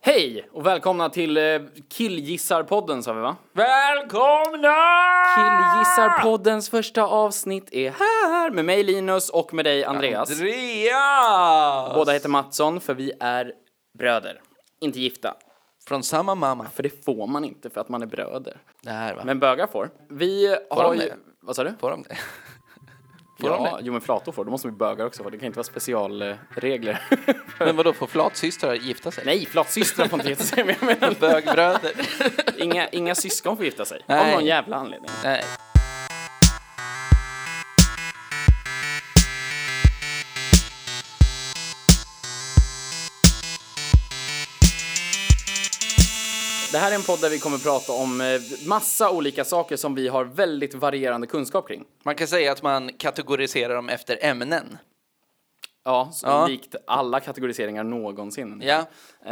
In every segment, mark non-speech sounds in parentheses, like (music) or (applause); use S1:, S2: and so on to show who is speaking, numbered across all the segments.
S1: Hej och välkomna till eh, Killgissarpodden sa vi va?
S2: Välkomna!
S1: Killgissarpoddens första avsnitt är här med mig Linus och med dig Andreas.
S2: Andreas!
S1: Båda heter Mattsson för vi är bröder, inte gifta.
S2: Från samma mamma.
S1: För det får man inte för att man är bröder.
S2: Det här va?
S1: Men bögar får. Vi har
S2: de
S1: ju...
S2: det?
S1: Vad sa du?
S2: Får de
S1: (laughs)
S2: det? Får de
S1: Ja,
S2: det?
S1: jo men flator får, då måste vi bögar också få. Det kan inte vara
S2: (laughs)
S1: specialregler.
S2: Men vadå, får flatsystrar gifta sig?
S1: Nej, flatsystrar får inte gifta sig. Men jag menar,
S2: (laughs)
S1: (laughs)
S2: Bögbröder?
S1: inga, inga syskon får gifta sig.
S2: Nej.
S1: Av någon jävla anledning.
S2: Nej.
S1: Det här är en podd där vi kommer prata om eh, massa olika saker som vi har väldigt varierande kunskap kring.
S2: Man kan säga att man kategoriserar dem efter ämnen.
S1: Ja, så
S2: Ja.
S1: likt alla kategoriseringar någonsin.
S2: Ja.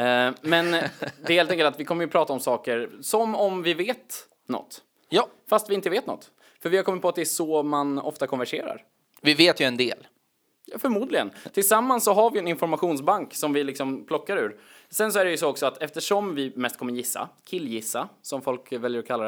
S1: Eh, Men eh, det är helt enkelt att vi kommer ju prata om saker som om vi vet något.
S2: Ja.
S1: Fast vi inte vet något. För vi har kommit på att det är så man ofta konverserar.
S2: Vi vet ju en del.
S1: Ja, förmodligen. Tillsammans så har vi en informationsbank som vi liksom plockar ur. Sen så är det ju så också att eftersom vi mest kommer gissa, killgissa, som folk väljer att kalla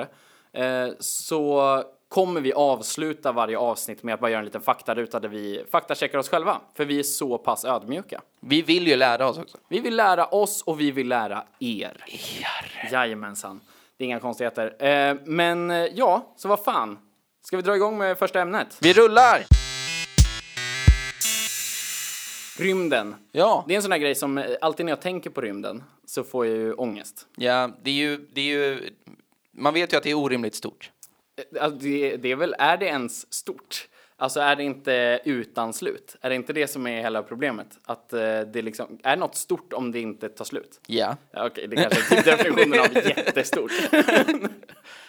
S1: det, eh, så kommer vi avsluta varje avsnitt med att bara göra en liten faktaruta där vi faktacheckar oss själva. För vi är så pass ödmjuka.
S2: Vi vill ju lära oss också.
S1: Vi vill lära oss och vi vill lära er. Er. Jajamensan. Det är inga konstigheter. Eh, men eh, ja, så vad fan. Ska vi dra igång med första ämnet?
S2: Vi rullar!
S1: Rymden.
S2: Ja.
S1: Det är en sån här grej som eh, alltid när jag tänker på rymden så får jag ju ångest.
S2: Ja, det är ju... Det är ju man vet ju att det är orimligt stort.
S1: Eh, Alltså det, det är väl, är det ens stort? Alltså är det inte utan slut? Är det inte det som är hela problemet? Att eh, det liksom, är något stort om det inte tar slut?
S2: Ja.
S1: Ja, Okej, det kanske är typ definitionen av jättestort.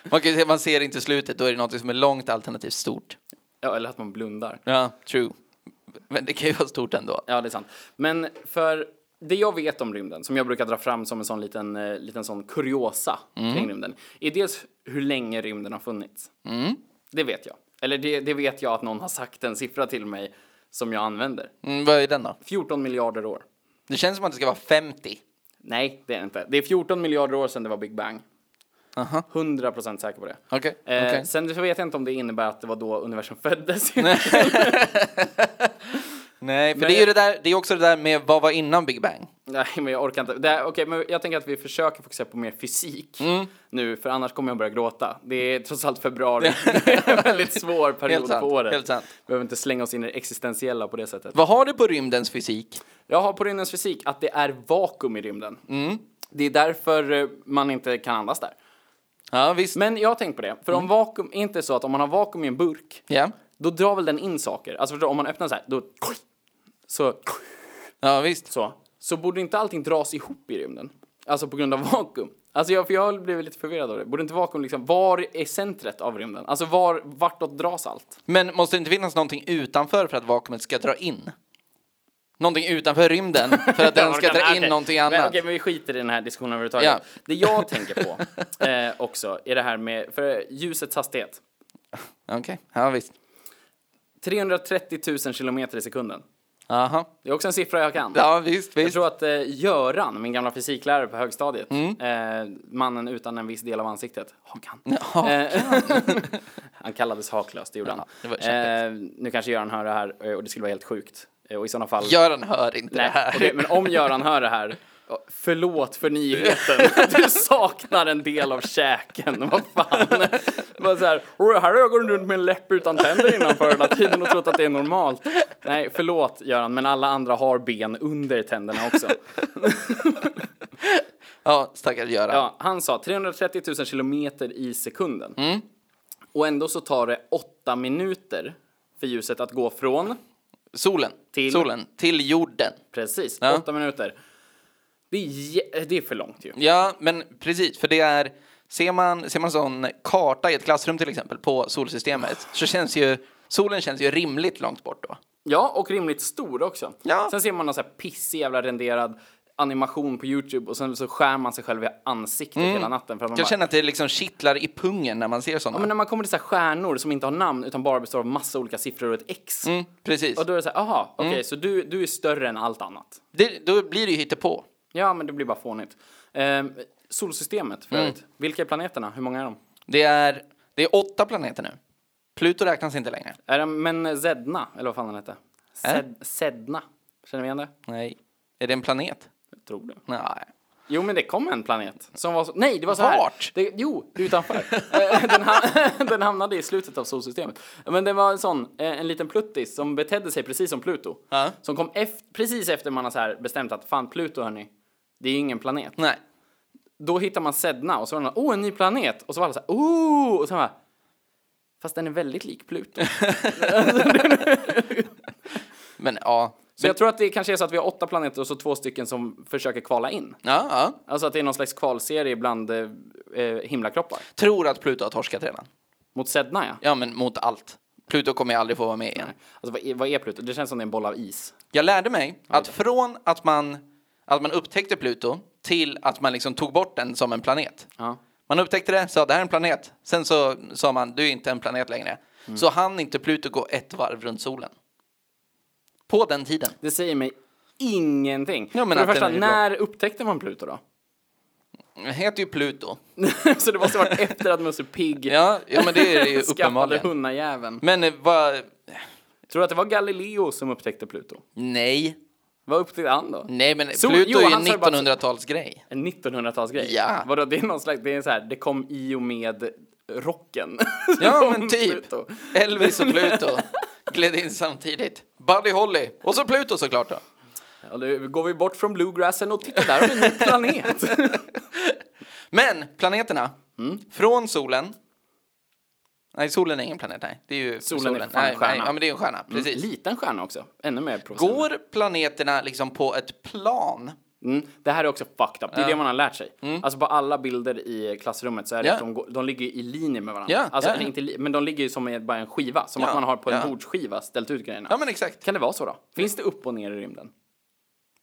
S2: Man, kan ju säga, man ser inte slutet, då är det något som är långt alternativt stort.
S1: Ja, eller att man blundar.
S2: Ja, true. Men det kan ju vara stort ändå.
S1: Ja, det är sant. Men för det jag vet om rymden, som jag brukar dra fram som en sån liten, eh, liten sån kuriosa
S2: Mm.
S1: kring rymden, är dels hur länge rymden har funnits.
S2: Mm.
S1: Det vet jag. Eller det, det vet jag att någon har sagt en siffra till mig som jag använder.
S2: Mm, vad är den då?
S1: 14 miljarder år.
S2: Det känns som att det ska vara 50.
S1: Nej, det är det inte. Det är 14 miljarder år sedan det var Big Bang.
S2: Aha.
S1: 100 procent säker på det.
S2: Okej.
S1: Eh,
S2: okej.
S1: Sen så vet jag inte om det innebär att det var då universum föddes.
S2: Nej, för
S1: men
S2: det är ju
S1: jag-
S2: det där, det är också det där med vad var innan Big Bang?
S1: Nej, men jag orkar inte. Det, okay, men jag tänker att vi försöker fokusera på mer fysik
S2: Mm.
S1: nu, för annars kommer jag börja gråta. Det är trots allt
S2: (laughs)
S1: februari. det är en väldigt svår period
S2: Helt sant,
S1: på året.
S2: helt sant.
S1: Vi behöver inte slänga oss in i det existentiella på det sättet.
S2: Vad har du på rymdens fysik?
S1: Jag har på rymdens fysik att det är vakuum i rymden.
S2: Mm.
S1: Det är därför eh, man inte kan andas där.
S2: Ja, visst.
S1: Men jag har tänkt på det, för
S2: Mm.
S1: om vakuum, är inte så att om man har vakuum i en burk,
S2: Ja,
S1: då drar väl den in saker? Alltså förstår du, om man öppnar så här, då... Så
S2: ja visst.
S1: så, så borde inte allting dras ihop i rymden? Alltså på grund av vakuum? Alltså jag, för jag blev lite förvirrad av det. Borde inte vakuum liksom, var är centret av rymden? Alltså var, vartåt dras allt?
S2: Men måste det inte finnas någonting utanför för att vakuumet ska dra in? Någonting utanför rymden
S1: (laughs)
S2: för att den ska dra in någonting
S1: Men,
S2: annat?
S1: okej, men vi skiter i den här diskussionen överhuvudtaget.
S2: Ja.
S1: Det jag tänker
S2: (laughs)
S1: på eh, också är det här med, för ljusets hastighet.
S2: Okej, ja visst.
S1: 330 000 kilometer i sekunden.
S2: Aha.
S1: Det är också en siffra jag kan.
S2: Ja, visst,
S1: Jag
S2: visst.
S1: tror att eh, Göran, min gamla fysiklärare på högstadiet, eh, mannen utan en viss del av ansiktet, Hakan. Eh, (laughs) han kallades Haklös, det gjorde
S2: det
S1: han.
S2: var
S1: eh, nu kanske Göran hör det här eh, och det skulle vara helt sjukt. Eh, och i sådana fall...
S2: Göran hör inte det
S1: Nej,
S2: här.
S1: okej, men om Göran hör det här, eh, förlåt för
S2: (laughs)
S1: nyheten. Du saknar en del av käken, vad fan. Bara så här, "Åh, här har jag gått runt med en läpp utan tänder innanför hela tiden och trott att det är normalt. Nej, förlåt Göran, men alla andra har ben under tänderna också.
S2: Ja, stackars Göran.
S1: Ja, han sa 330 000 kilometer i sekunden.
S2: Mm.
S1: Och ändå så tar det åtta minuter för ljuset att gå från,
S2: Solen.
S1: Till-
S2: Solen. Till jorden.
S1: precis,
S2: Ja.
S1: åtta minuter. Det är, jä- det är för långt ju.
S2: Ja, men precis, för det är... Ser man, ser man sån karta i ett klassrum till exempel på solsystemet så känns ju solen känns ju rimligt långt bort då.
S1: Ja, och rimligt stor också.
S2: Ja.
S1: Sen ser man någon så här pissig jävla renderad animation på Youtube och sen så skär man sig själv i ansiktet hela natten. För att man
S2: Mm. Jag
S1: bara,
S2: känner att det liksom kittlar i pungen när man ser såna.
S1: men när man kommer till så här stjärnor som inte har namn utan bara består av massa olika siffror och ett X.
S2: mm, precis.
S1: Och då är det så här, aha, okej, så du, du är större än allt annat.
S2: Det, då blir det ju hittepå.
S1: Ja, men det blir bara fånigt. Eh, solsystemet,
S2: Mm.
S1: för övrigt. Vilka är planeterna? Hur många är de?
S2: Det är, det är åtta planeter nu. Pluto räknas inte längre.
S1: Är det, men Zedna, eller vad fan den hette?
S2: Är det?
S1: Zed, Zedna. Känner vi igen det?
S2: Nej. Är det en planet?
S1: Jag tror det.
S2: Nej.
S1: Jo, men det kom en planet som var så... Nej, det var så här.
S2: Vart?
S1: Det, jo,
S2: (laughs)
S1: utanför. Eh, den, ham- (laughs) den hamnade i slutet av solsystemet. Men det var en sån, eh, en liten pluttis som betedde sig precis som Pluto.
S2: Ja.
S1: Som kom ef- precis efter man har så här bestämt att fan, Pluto hörni, det är ju ingen planet.
S2: Nej.
S1: Då hittar man Sedna och så var den åh, en ny planet. Och så var alla så här, oh! Och sen bara, fast den är väldigt lik
S2: (laughs)
S1: Pluto.
S2: Men ja.
S1: Så jag tror att det kanske är så att vi har åtta planeter och så två stycken som försöker kvala in.
S2: Ja, ja.
S1: Alltså att det är någon slags kvalserie bland eh, eh, himlakroppar.
S2: Tror att Pluto har torskat redan.
S1: Mot Sedna ja.
S2: Ja, men mot allt. Pluto kommer jag aldrig få vara med igen.
S1: Alltså vad är, vad är Pluto? Det känns som det är en boll av is.
S2: Jag lärde mig att från att man, att man upptäckte Pluto till att man liksom tog bort den som en planet.
S1: Ja.
S2: Man upptäckte det, sa det här är en planet. Sen så sa man, du är inte en planet längre. Så hann inte Pluto gå ett varv runt solen. På den tiden.
S1: Det säger mig ingenting.
S2: Ja, men
S1: För det
S2: att
S1: första,
S2: den är ju
S1: när
S2: blå.
S1: upptäckte man Pluto då? (laughs)
S2: Den heter ju Pluto.
S1: så det måste ha varit efter att Musse Pigg
S2: Ja, ja men det är
S1: (laughs)
S2: det ju
S1: skaffade
S2: uppenbarligen.
S1: hundajäveln.
S2: Men eh, vad...
S1: Tror du att det var Galileo som upptäckte Pluto?
S2: Nej.
S1: Vad upptäckte han då?
S2: Nej, men
S1: Sol-
S2: Pluto
S1: jo,
S2: är ju
S1: han sa ju bara-
S2: en 1900-talsgrej.
S1: En 1900-talsgrej?
S2: Ja.
S1: Vadå, det är någon slags, det är så här, det kom i och med rocken.
S2: (laughs) Ja,
S1: Som
S2: men typ.
S1: Pluto.
S2: Elvis och Pluto gled in samtidigt. Buddy Holly. Och så Pluto såklart då.
S1: Ja, nu går vi bort från bluegrassen och tittar där har vi
S2: (laughs)
S1: en ny planet.
S2: Men planeterna. mm, Från solen. Nej, solen är ingen planet. Nej, det är ju
S1: Solen är för fan en
S2: nej,
S1: stjärna. Mm.
S2: nej, ja, men det är en stjärna. Precis.
S1: Liten stjärna också, ännu mer provocerande.
S2: Går planeterna liksom på ett plan?
S1: Mm. Det här är också fucked up, det är det man har lärt sig. Alltså på alla bilder i klassrummet så är det
S2: Mm. Ja.
S1: att de, går, de ligger i linje med varandra.
S2: Ja,
S1: Alltså,
S2: ja,
S1: eller
S2: ja.
S1: Inte, i li- men de ligger ju som i bara en skiva, som
S2: Ja,
S1: att man har på en
S2: ja.
S1: bordsskiva ställt ut grejerna.
S2: Ja, men exakt.
S1: Kan det vara så då? Finns det upp och ner i rymden?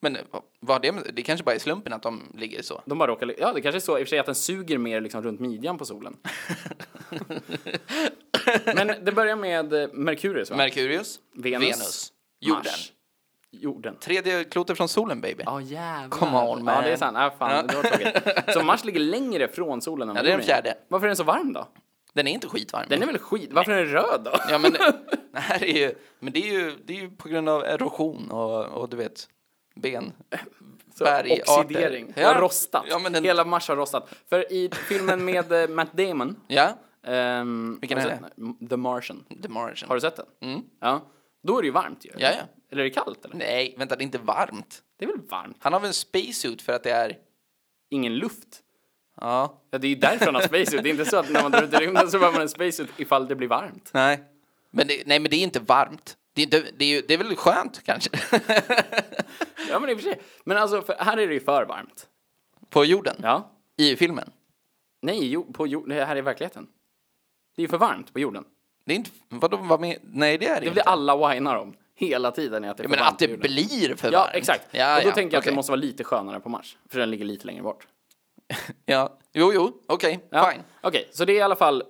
S2: Men eh, vad- vad har det med- Det kanske bara är slumpen att de ligger så.
S1: De bara råkar, li- ja det kanske är så i och för sig att den suger mer liksom runt midjan på
S2: (laughs)
S1: solen. men det börjar med eh, Merkurius va?
S2: Merkurius,
S1: Venus,
S2: jorden.
S1: Mars, jorden.
S2: Tredje klotet från solen, baby.
S1: Ja jävlar.
S2: Come on,
S1: Ja
S2: man.
S1: det är sant, ja, fan, det var tråkigt. Så Mars ligger längre från solen än
S2: Ja, det är den
S1: jorden gör.
S2: fjärde.
S1: Varför är den så varm då?
S2: Den är inte skitvarm.
S1: Den är väl skit, varför är den röd då? (laughs)
S2: Ja, men det här är ju, men det är ju, det är ju på grund av erosion och, och du vet, ben, bergarter.
S1: Oxidering, ja. har rostat.
S2: Ja, men den,
S1: Hela Mars har rostat. För i filmen med eh, Matt Damon,
S2: ja,
S1: ehm,
S2: Vilken
S1: har du
S2: är
S1: sett den? The Martian.
S2: the Martian.
S1: Har du sett den? Ja. Då är det ju varmt ju. eller?
S2: Mm. Ja, ja.
S1: Eller är det kallt eller?
S2: Nej, vänta, det är inte varmt.
S1: Det är väl varmt?
S2: Han har väl en spacesuit för att det är,
S1: Ingen luft.
S2: ja,
S1: Ja, det är ju därför han har spacesuit. Det är inte så att när man drar ut i rymden så behöver man en spacesuit ifall det blir varmt.
S2: nej. Men det, nej, men det är inte varmt. Det är, inte, det är, ju, det är väl skönt kanske, (laughs)
S1: Ja, men i och för sig. Men alltså, för, här är det ju för varmt.
S2: på jorden,
S1: Ja.
S2: i filmen.
S1: Nej, jo, på jord, det här är verkligheten. Det är ju för varmt på jorden.
S2: Det är inte, vadå, vad med, nej det är det
S1: Det
S2: ju
S1: blir
S2: inte.
S1: alla whinar om hela tiden. Är att det är för
S2: Men
S1: varmt
S2: att det
S1: på jorden.
S2: blir för
S1: Ja,
S2: varmt.
S1: exakt.
S2: Ja,
S1: och då
S2: ja,
S1: tänker jag att
S2: okej.
S1: det måste vara lite skönare på Mars, för den ligger lite längre bort.
S2: (laughs) Ja, jo, jo, okej,
S1: Ja.
S2: fine.
S1: Okej, så det är i alla fall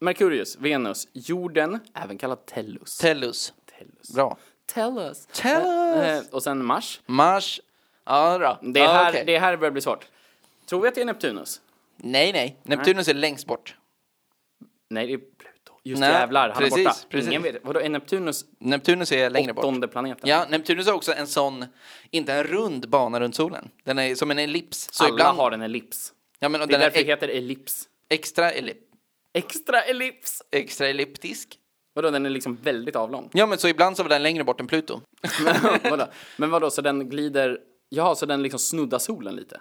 S1: Merkurius, Venus, jorden, även kallad Tellus.
S2: Tellus,
S1: Tellus.
S2: bra.
S1: Tellus.
S2: Tellus.
S1: Eh, och sen Mars.
S2: Mars. Ja, då.
S1: Det
S2: ja,
S1: här,
S2: Ah, okej.
S1: det här börjar bli svårt. Tror vi att det är Neptunus?
S2: Nej, nej. Neptunus är längst bort.
S1: Nej, det är Pluto. Just
S2: Nej,
S1: jävlar, han är
S2: precis,
S1: borta.
S2: precis.
S1: Ingen vet. Vadå, är Neptunus
S2: Neptunus är längre bort.
S1: åttonde planeten?
S2: Ja, Neptunus är också en sån, inte en rund bana runt solen. Den är som en ellips. Så
S1: Alla
S2: ibland,
S1: har en ellips.
S2: ja, men, och
S1: Det är
S2: den är e-
S1: därför det
S2: ex-
S1: heter ellips.
S2: extra, ellip,
S1: Extra ellips!
S2: extra elliptisk.
S1: Vadå, den är liksom väldigt
S2: (laughs)
S1: avlång.
S2: Ja, men så ibland så var den längre bort än Pluto. (laughs)
S1: vadå? Men vadå, så den glider... Jaha, så den liksom snuddar solen lite?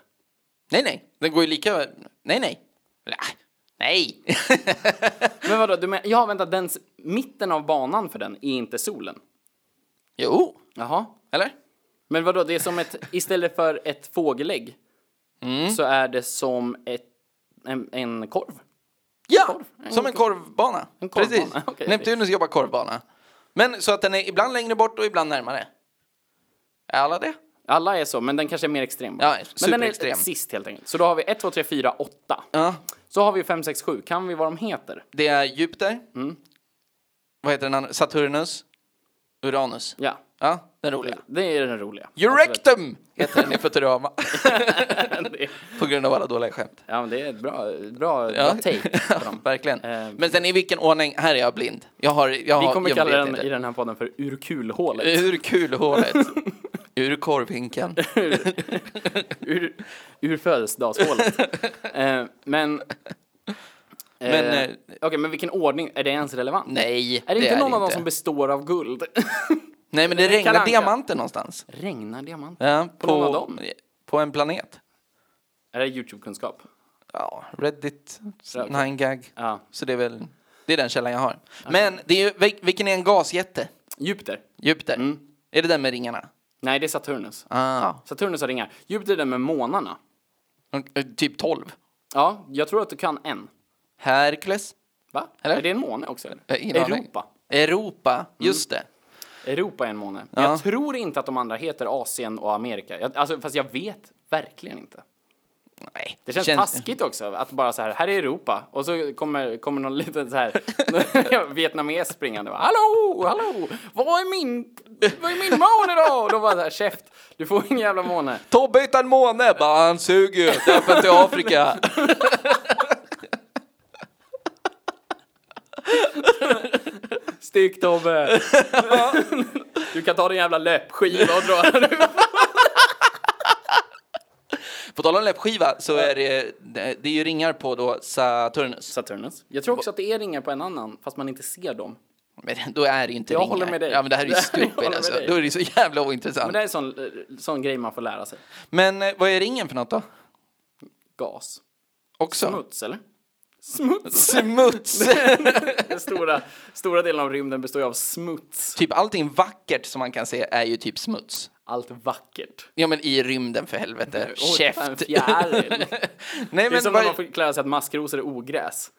S2: Nej, nej. Den går ju lika... Nej, nej. Nä, Nej.
S1: Men vadå, du men... Ja, vänta, den... s- mitten av banan för den är inte solen?
S2: (laughs) jo.
S1: Jaha.
S2: Eller?
S1: Men vadå, det är som ett... Istället för ett fågelägg
S2: Mm.
S1: så är det som ett... En, en korv?
S2: Ja, som en korvbana.
S1: En korvbana,
S2: Precis.
S1: (laughs) okej.
S2: Neptunus jobbar korvbana. Men så att den är ibland längre bort och ibland närmare. Är alla det?
S1: Alla är så, men den kanske är mer extrem. bara.
S2: Ja,
S1: men den är
S2: superextrem.
S1: sist helt enkelt. Så då har vi 1, 2, 3, 4, 8.
S2: Ja.
S1: Så har vi 5, 6, 7. Kan vi vad de heter?
S2: Det är
S1: Mm.
S2: Jupiter. Vad heter den andra? Saturnus. Uranus.
S1: Ja.
S2: Ja. Den roliga.
S1: Det är den roliga.
S2: Eurectum heter den i Futurama.
S1: Absolut. (laughs) Det-
S2: (laughs) På grund av alla dåliga skämt.
S1: ja, men det är ett bra, bra,
S2: (laughs) Ja.
S1: bra take på dem.
S2: Verkligen.
S1: Eh,
S2: Men sen i vilken ordning? Här är jag blind. Jag har... Jag
S1: Vi
S2: har,
S1: kommer
S2: jag
S1: kalla
S2: vet
S1: den
S2: inte.
S1: i den här podden för
S2: (laughs)
S1: urkulhålet.
S2: Ur kulhålet.
S1: (laughs)
S2: Ur korvhinkan.
S1: ur, ur, ur födelsedagshålet. eh, men... eh,
S2: Men, eh,
S1: Okej, men vilken ordning? Är det ens relevant?
S2: Nej,
S1: (laughs) Är det, inte någon av dem
S2: inte.
S1: som består av
S2: (laughs)
S1: guld?
S2: Nej, men det regnar
S1: Kalle Anka.
S2: diamanter någonstans.
S1: Regnar diamanter?
S2: Ja, på,
S1: någon av dem?
S2: på en planet.
S1: Är det YouTube-kunskap?
S2: Ja, Reddit,
S1: Ja, okej.
S2: 9gag.
S1: Ja.
S2: Så det är väl... Det är den källan jag har. Men det är ju, vil- vilken är en gasjätte?
S1: Jupiter?
S2: Jupiter.
S1: Mm.
S2: Är det den med ringarna?
S1: Nej, det är Saturnus.
S2: Ah,
S1: Saturnus har ringar. Jupiter är den med månarna.
S2: och- och typ 12.
S1: Ja, jag tror att du kan en.
S2: Herkules?
S1: Va?
S2: Eller?
S1: Är det en måne också? Eller?
S2: Jag har ingen aning.
S1: Europa.
S2: Europa,
S1: Mm.
S2: just det.
S1: Europa är en måne. Men
S2: Ja.
S1: Jag tror inte att de andra heter Asien och Amerika. Jag, alltså, fast jag vet verkligen inte.
S2: Nej,
S1: Det känns, taskigt också att bara så här, här är Europa och så kommer, kommer någon liten så här (laughs) vietnames springande och bara, hallå, hallå, vad är min, vad är min måne då? Och då bara så här, käft, du får ingen jävla måne.
S2: Tobbe hittade en måne! Bara, han suger ju! Döpen till Afrika! (laughs)
S1: Stick Tobbe! (laughs) du kan ta din jävla löpskiva och dra (laughs) den.
S2: På tal om läppskiva så är det, det är ju ringar på då Saturnus.
S1: Saturnus. Jag tror också att det är ringar på en annan, fast man inte ser dem.
S2: Men då är det ju inte
S1: Jag
S2: ringar.
S1: håller med dig.
S2: Ja men det här är
S1: (laughs)
S2: ju
S1: Jag
S2: stupid
S1: håller med
S2: alltså.
S1: dig.
S2: Då är det ju så jävla ointressant.
S1: Men
S2: Men,
S1: det är en sån, eh, sån grej man får lära sig.
S2: eh, vad är ringen för något då?
S1: Gas.
S2: Också?
S1: Smuts, eller? Smuts! (laughs)
S2: Smuts!
S1: Den stora, stora delen av rymden består ju av smuts.
S2: typ allting vackert som man kan se är ju typ smuts.
S1: Allt vackert.
S2: Ja men i rymden för helvete.
S1: Oj, en
S2: Käft!
S1: fjäril.
S2: (laughs) Nej
S1: Det är
S2: men
S1: som
S2: vad...
S1: när man förklarar sig att maskrosor är ogräs.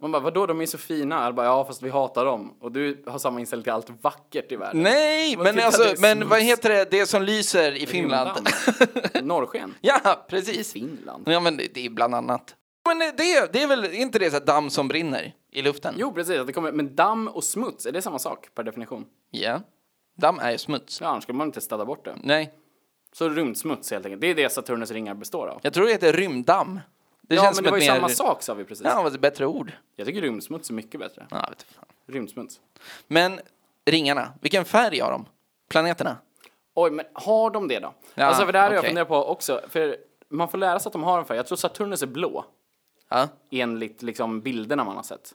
S1: Man bara, vadå, de är så fina. Jag bara, ja, fast vi hatar dem. Och du har samma inställning till allt vackert i världen.
S2: Nej,
S1: Man
S2: men
S1: tittar, det
S2: alltså,
S1: är typ
S2: men
S1: smuts.
S2: vad heter det, det som lyser i Finland? (laughs)
S1: Finland. Norrsken.
S2: ja, precis.
S1: Finland.
S2: Ja, men det det är bland annat. Men eh, det, det är väl inte det så här damm som brinner i luften?
S1: Jo, precis. Att det kommer, men damm och smuts, är det samma sak per definition?
S2: Ja. Damm är ju smuts.
S1: Ja, annars skulle man inte städa bort det.
S2: Nej,
S1: Så rymdsmuts helt enkelt. Det är det Saturnus ringar består av.
S2: jag tror det heter rymddamm. Det
S1: ja,
S2: känns
S1: men
S2: som
S1: det
S2: ett
S1: var ju
S2: mer...
S1: samma sak sa vi precis.
S2: Ja, fast ett bättre ord.
S1: Jag tycker rymdsmuts är mycket bättre.
S2: Ja, vet du fan.
S1: Rymdsmuts.
S2: Men ringarna, vilken färg har de? Planeterna?
S1: Oj, men har de det då?
S2: Ja,
S1: alltså, för det här har jag
S2: okej.
S1: funderat på också. För man får lära sig att de har en färg. Jag tror Saturnus är blå.
S2: Ja.
S1: enligt liksom bilderna man har sett.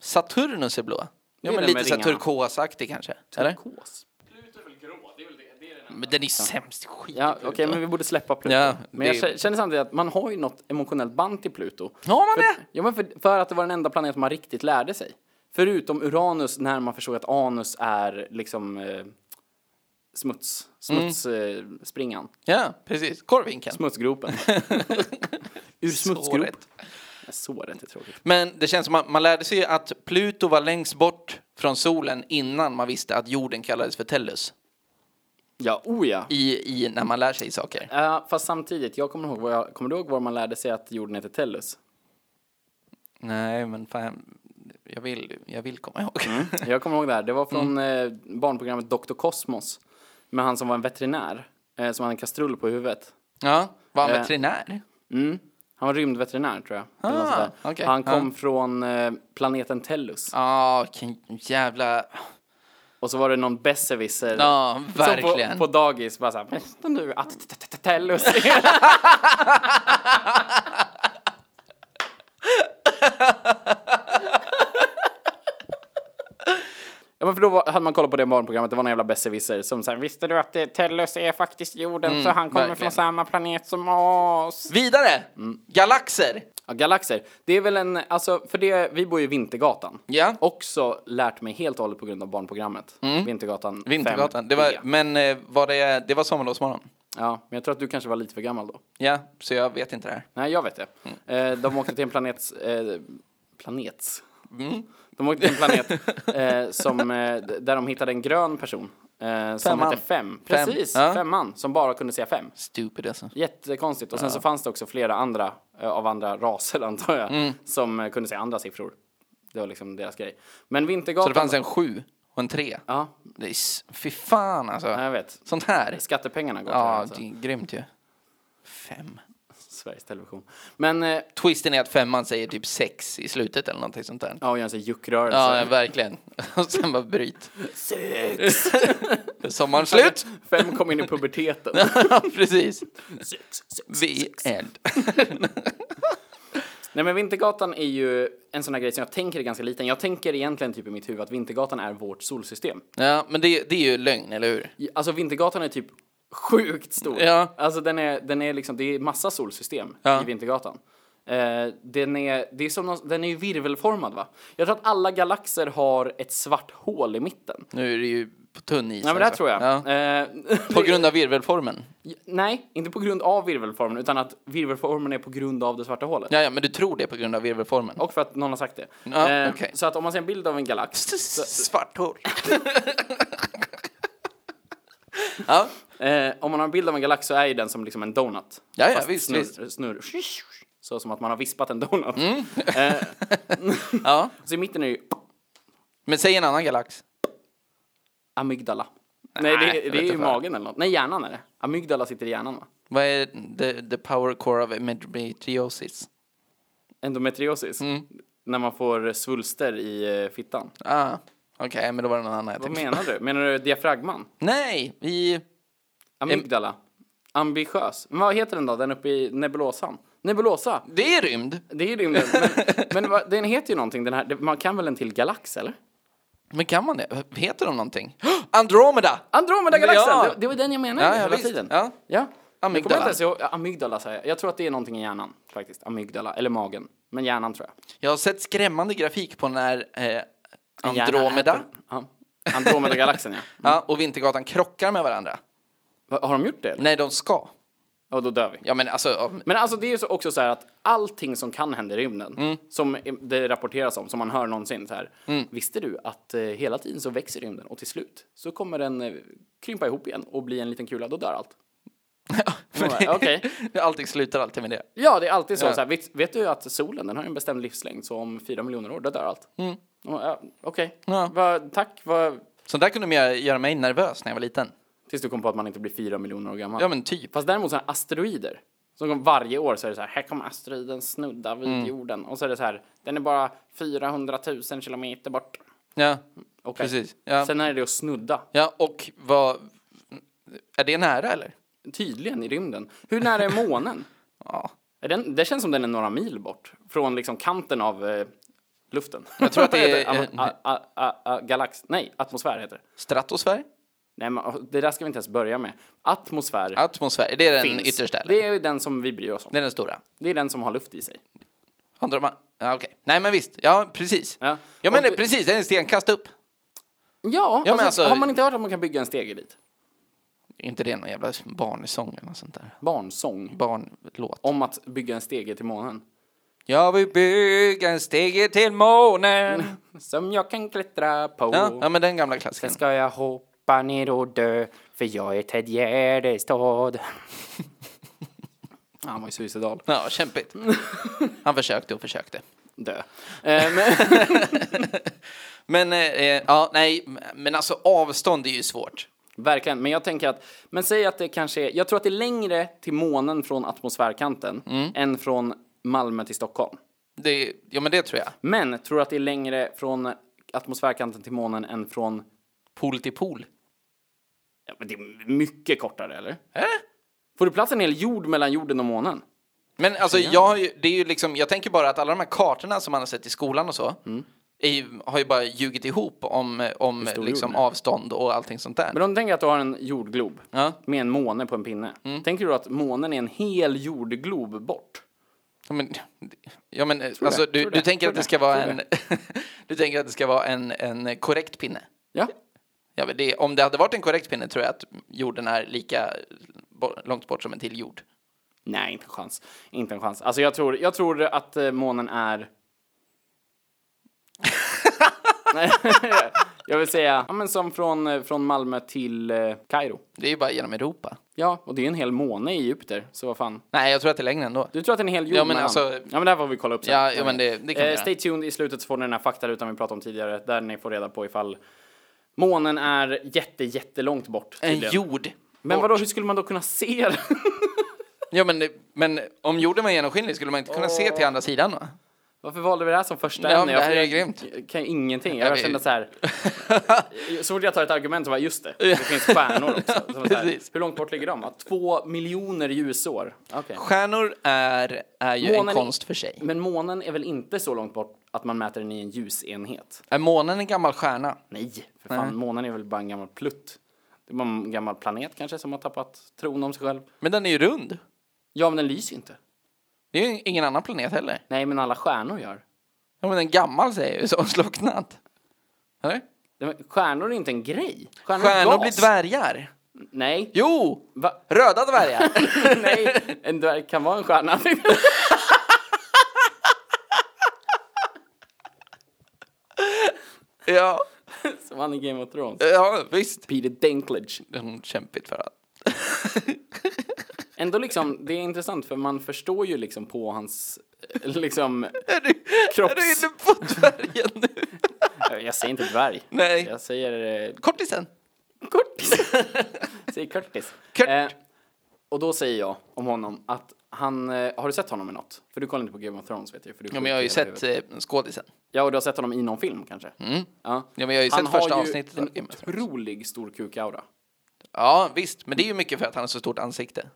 S2: Saturnus är blå. Ja,
S1: är
S2: men
S1: den
S2: lite
S1: med
S2: så här
S1: ringarna.
S2: turkosaktig kanske. Eller?
S1: Turkos. Pluto är väl grå? Det är väl det, det är den
S2: Men den är sämst. Skit.
S1: Ja, okej, men vi borde släppa Pluto.
S2: Ja,
S1: men jag
S2: det-
S1: kä- känner samtidigt att man har ju något emotionellt band till Pluto.
S2: Har man det?
S1: För, ja, men för, för att det var den enda planeten man riktigt lärde sig. Förutom Uranus när man förstod att Anus är liksom eh, smuts, smutsspringan,
S2: Mm.
S1: eh, springan.
S2: Ja, precis. Korvhinken. (laughs)
S1: smutsgropen. Ur smutsgrop.
S2: Såret.
S1: Såret är tråkigt.
S2: Men det känns som att man lärde sig att Pluto var längst bort från solen innan man visste att jorden kallades för Tellus.
S1: Ja, oh ja.
S2: I, i när man lär sig saker.
S1: Ja, fast samtidigt, jag kommer ihåg, vad jag, kommer du ihåg var man lärde sig att jorden heter Tellus?
S2: Nej, men fan. Jag vill, jag vill komma ihåg.
S1: Mm. Jag kommer ihåg det här, det var från
S2: Mm.
S1: eh, barnprogrammet Dr. Kosmos. Med han som var en veterinär, eh, som hade en kastrull på huvudet.
S2: (laughs) Ja, var han
S1: Eh.
S2: veterinär?
S1: Mm. Han var rymdveterinär tror jag.
S2: Ah,
S1: eller något sånt där.
S2: okej. Ah.
S1: Han kom
S2: Ja.
S1: från eh, planeten Tellus.
S2: Ja, vilken jävla...
S1: Och så var det någon besserwisser.
S2: Ja,
S1: som
S2: verkligen.
S1: På, på dagis bara såhär, vänta nu att t- t- t- Tellus (laughs) Ja men för då var, hade man kollat på det barnprogrammet, det var någon jävla besserwisser som såhär Visste du att eh, Tellus är faktiskt jorden så han kommer
S2: verkligen.
S1: från samma planet som oss?
S2: Vidare! Galaxer!
S1: Ja, galaxer, det är väl en, alltså för det, vi bor ju i Vintergatan
S2: Ja.
S1: Också lärt mig helt och hållet på grund av barnprogrammet Vintergatan
S2: Vintergatan. Det
S1: 5D.
S2: var, men eh, var det, det var sommarlovsmorgon.
S1: Ja, men jag tror att du kanske var lite för gammal då.
S2: Ja, så jag vet inte det här.
S1: Nej, jag vet det.
S2: Mm.
S1: Eh, de åkte till en planet... Eh, planets?
S2: Mm.
S1: De åkte till en planet eh, som, eh, d- där de hittade en grön person. Eh, som
S2: Femman.
S1: hette Fem.
S2: Fem.
S1: Precis,
S2: Ja.
S1: Femman. Som bara kunde säga fem.
S2: Stupid alltså.
S1: Jättekonstigt. Och sen så fanns det också flera andra eh, av andra raser, (laughs) antar
S2: Mm.
S1: jag, som eh, kunde säga andra siffror. Det var liksom deras grej. Men
S2: Så det
S1: Vintergatan...
S2: fanns en sju och en 3.
S1: Ja,
S2: Det är, s- fy fan alltså.
S1: jag vet.
S2: Sånt här.
S1: Skattepengarna går till det,
S2: Ja,
S1: alltså.
S2: det är grymt ju. Fem.
S1: Sveriges Television. Men, eh,
S2: Twisten är att femman säger typ sex i slutet eller någonting sånt där.
S1: ja, och gör en sån här juckrörelse.
S2: Ja, verkligen. (laughs) Och sen bara bryt.
S1: Sex!
S2: Sommaren slut!
S1: Fem kom in i puberteten.
S2: (laughs) Ja, Precis.
S1: Sex, sex.
S2: Vi end.
S1: Nej men Vintergatan är ju en sån här grej som jag tänker är ganska liten. Jag tänker egentligen typ i mitt huvud att Vintergatan är vårt solsystem.
S2: Ja, men det, det är ju lögn, eller hur?
S1: I- Alltså Vintergatan är typ sjukt stor.
S2: Ja.
S1: Alltså den är, den är liksom, det är massa solsystem
S2: Ja.
S1: i Vintergatan. Eh, den, är, det är som någon, den är ju virvelformad va? Jag tror att alla galaxer har ett svart hål i mitten.
S2: Nu är det ju på tunn is.
S1: Ja men det här
S2: alltså.
S1: tror jag.
S2: Ja.
S1: Eh,
S2: På grund av virvelformen.
S1: (laughs) Nej, inte på grund av virvelformen utan att virvelformen är på grund av det svarta hålet.
S2: Ja, ja, men du tror det på grund av virvelformen.
S1: Och för att någon har sagt det. Eh,
S2: Ja, okej.
S1: Så att om man ser en bild av en galax
S2: Svart hår. (laughs) ja,
S1: Eh, om man har en bild av en galax så är ju den som liksom en donut.
S2: Ja, ja,
S1: Fast
S2: visst,
S1: snurr,
S2: visst. Mm.
S1: snurr. Så som att man har vispat en donut. eh,
S2: ja.
S1: så i mitten är ju
S2: Men säg en annan galax.
S1: amygdala. Nej,
S2: Nej,
S1: det,
S2: jag
S1: det
S2: vet
S1: är ju
S2: inte vad.
S1: magen eller något. Nej, hjärnan är det. Amygdala sitter i hjärnan va?
S2: Vad är the, the power core of endometriosis?
S1: Endometriosis.
S2: Mm.
S1: När man får svulster i eh, fittan.
S2: Ah, okej, men då var det någon annan jag
S1: Vad
S2: tänkte.
S1: menar du? Menar du diafragman?
S2: Nej, vi...
S1: Amygdala? Ambitiös? Men vad heter den då? Den uppe i nebulosan? Nebulosa!
S2: Det är rymd.
S1: Det är ju rymden. Men,
S2: (laughs)
S1: men vad- den heter ju någonting den här. Man kan väl en till galax eller?
S2: Men kan man det? Heter de någonting? (gasps) Andromeda!
S1: Andromeda-galaxen!
S2: Ja.
S1: Det, det var den jag menade
S2: Ja, ja,
S1: hela
S2: visst.
S1: tiden.
S2: Ja.
S1: ja. Jag kommer
S2: Amygdala.
S1: inte ens ihåg, ja, amygdala säger jag. Jag tror att det är någonting i hjärnan faktiskt. Amygdala, eller magen. Men hjärnan tror jag.
S2: Jag har sett skrämmande grafik på när eh,
S1: Hjärnan
S2: Andromeda
S1: äter- Ja. Andromeda-galaxen ja. (laughs)
S2: ja, och Vintergatan krockar med varandra.
S1: Va, har de gjort det? eller?
S2: Nej, de ska.
S1: Ja, då dör vi.
S2: Ja, men alltså... om-
S1: Men alltså det är ju så- också så här att allting som kan hända i rymden,
S2: Mm.
S1: som det rapporteras om, som man hör någonsin så här. Visste du att eh, hela tiden så växer rymden och till slut så kommer den eh, krympa ihop igen och bli en liten kula, då dör allt. Ja,
S2: för
S1: (laughs)
S2: det-
S1: okej.
S2: (laughs) Allting slutar alltid med det.
S1: Ja, det är alltid så. så här, vet, vet du att solen den har en bestämd livslängd, så om fyra miljoner år, då dör allt. Mm. Ja, Okej,
S2: Ja.
S1: Vad- tack. vad-
S2: Så där kunde de göra- göra mig nervös när jag var liten.
S1: tills du kom på att man inte blir fyra miljoner år gammal.
S2: Ja, men typ.
S1: Fast däremot så här asteroider, som kom varje år så är det så här, här kommer asteroiden snudda vid
S2: Mm.
S1: jorden. Och så är det så här, den är bara 400 000 kilometer bort.
S2: Ja,
S1: Okej.
S2: precis. Ja.
S1: Sen är det att snudda,
S2: ja, och vad... Är det nära, eller?
S1: tydligen i rymden. Hur nära är
S2: (laughs)
S1: månen?
S2: Ja.
S1: är den, det känns som den är några mil bort från liksom kanten av eh, luften. Jag (laughs)
S2: tror att det är- eh,
S1: galax. Nej, atmosfär heter det.
S2: Stratosfär?
S1: Nej, men det där ska vi inte ens börja med. Atmosfär
S2: Atmosfär, det är den
S1: finns.
S2: yttersta? Eller?
S1: Det är ju den som vi bryr oss om.
S2: Det är den stora?
S1: Det är den som har luft i sig.
S2: Andra man... Ja, okej. Nej, men visst. Ja, precis.
S1: Ja.
S2: Jag menar
S1: Och-
S2: precis, det är en stenkast upp.
S1: Ja,
S2: men
S1: alltså,
S2: alltså-
S1: har man inte hört att man kan bygga en stege dit?
S2: Inte det någon jävla barnsång eller något sånt där?
S1: Barnsång.
S2: Barnlåt.
S1: Om att bygga en stege till månen.
S2: Jag vill bygga en stege till månen.
S1: Som jag kan klättra på.
S2: Ja, ja men den gamla
S1: Sen
S2: klassiken.
S1: ska jag hoppa ner och dö, för jag är Ted
S2: (laughs)
S1: Gärdestad. Han var ju suicidal.
S2: Ja, (laughs) kämpigt. Han försökte och försökte.
S1: Dö. Eh, men, (laughs)
S2: Men eh, eh, ja, nej, men alltså avstånd är ju svårt.
S1: verkligen, men jag tänker att, men säg att det kanske är, jag tror att det är längre till månen från atmosfärkanten än från Malmö till Stockholm.
S2: Det, ja, men det tror jag.
S1: Men tror att det är längre från atmosfärkanten till månen än från,
S2: Pool till pool.
S1: ja, men det är mycket kortare eller?
S2: Eh?
S1: Får du plats en hel jord mellan jorden och månen?
S2: Men alltså, jag, har ju- det är ju liksom, jag tänker bara att alla de här kartorna som man har sett i skolan och så
S1: Mm.
S2: är ju, har ju bara ljugit ihop om, om
S1: stor
S2: liksom,
S1: jorden är.
S2: avstånd och allting sånt där.
S1: Men om du tänker att du har en jordglob
S2: Ja.
S1: med en måne på en pinne. Tänker du att månen är en hel jordglob bort?
S2: Ja, men, ja, men alltså,
S1: det,
S2: du,
S1: tror
S2: du
S1: det,
S2: tänker
S1: tror
S2: att det
S1: det,
S2: ska vara
S1: tror
S2: en... (laughs) Du tänker att det ska vara en, en korrekt pinne?
S1: Ja.
S2: Ja, men det, om det hade varit en korrekt pinne tror jag att jorden är lika bo- långt bort som en till jord.
S1: Nej, inte en chans. Inte en chans. Alltså jag tror, jag tror att eh, månen är... (laughs) Nej, jag vill säga, ja, men som från, eh, från Malmö till eh, Kairo.
S2: Det är ju bara genom Europa.
S1: Ja, och det är en hel måne i Egypter, så vad fan.
S2: Nej, jag tror att det är längre ändå.
S1: Du tror att det är en hel jord
S2: Ja, men
S1: mellan?
S2: alltså-
S1: Ja, men det här får vi kolla upp sen.
S2: Ja, ja, men det- det kan vi
S1: eh,
S2: göra.
S1: Stay tuned, i slutet så får ni den här faktarutan vi pratade om tidigare, där ni får reda på ifall Månen är jätte, jättelångt bort.
S2: En
S1: tydligen.
S2: jord.
S1: Men
S2: bort.
S1: vadå, hur skulle man då kunna se den?
S2: Ja, men, men om jorden var genomskinlig skulle man inte kunna se till andra sidan va?
S1: Varför valde vi det här som första
S2: Ja, men
S1: ämne?
S2: det här
S1: Jag-
S2: är ju grymt.
S1: Jag kan ju ingenting.
S2: Ja,
S1: Jag
S2: det är
S1: känner
S2: ju-
S1: så här.
S2: (laughs)
S1: Så fort jag tar ett argument så bara just det. Det finns stjärnor också. Så så här,
S2: Precis.
S1: hur långt bort ligger de? Ja, Två miljoner ljusår. Okej.
S2: Stjärnor är, är ju
S1: Månen är-
S2: en konst för sig.
S1: Men månen är väl inte så långt bort att man mäter den i en ljusenhet?
S2: Är månen en gammal stjärna?
S1: Nej, för fan. Månen är väl bara en gammal plutt. Det var en gammal planet kanske som har tappat tron om sig själv.
S2: Men den är ju rund.
S1: Ja, men den lyser ju inte.
S2: Det är ju ingen annan planet heller.
S1: Nej, men alla stjärnor gör.
S2: Ja, men en gammal säger ju så, (laughs) slocknat. Eller?
S1: Det- men Stjärnor är inte en grej. Stjärnor, är
S2: Stjärnor
S1: gas.
S2: blir dvärgar.
S1: Nej.
S2: Jo!
S1: Va?
S2: Röda
S1: (laughs)
S2: dvärgar.
S1: Nej, en dvärg kan vara en stjärna.
S2: (laughs)
S1: (laughs)
S2: ja,
S1: Som han i Game of Thrones.
S2: ja, visst.
S1: Peter Dinklage.
S2: Det är nog kämpigt för allt. (laughs)
S1: Ändå liksom, det är intressant för man förstår ju liksom på hans, eh, liksom,
S2: (laughs) Är du,
S1: Kropps-
S2: är du inne på dvärgen nu? (laughs)
S1: eh, jag säger inte dvärg.
S2: Nej.
S1: Jag säger eh,
S2: Kortisen.
S1: kortis. Jag (laughs) säger kortis.
S2: Kurt.
S1: och då säger jag om honom att han, eh, har du sett honom i något? För du kollar inte på Game of Thrones vet jag. För du
S2: Ja, men jag har ju sett eh, skådisen.
S1: Ja, och du har sett honom i någon film kanske? Ja.
S2: Ja, men jag har ju
S1: Han
S2: sett första
S1: har ju
S2: avsnittet av
S1: en
S2: Game of Thrones.
S1: otrolig stor kukaura.
S2: Ja, visst. Men det är ju mycket för att han har så stort ansikte.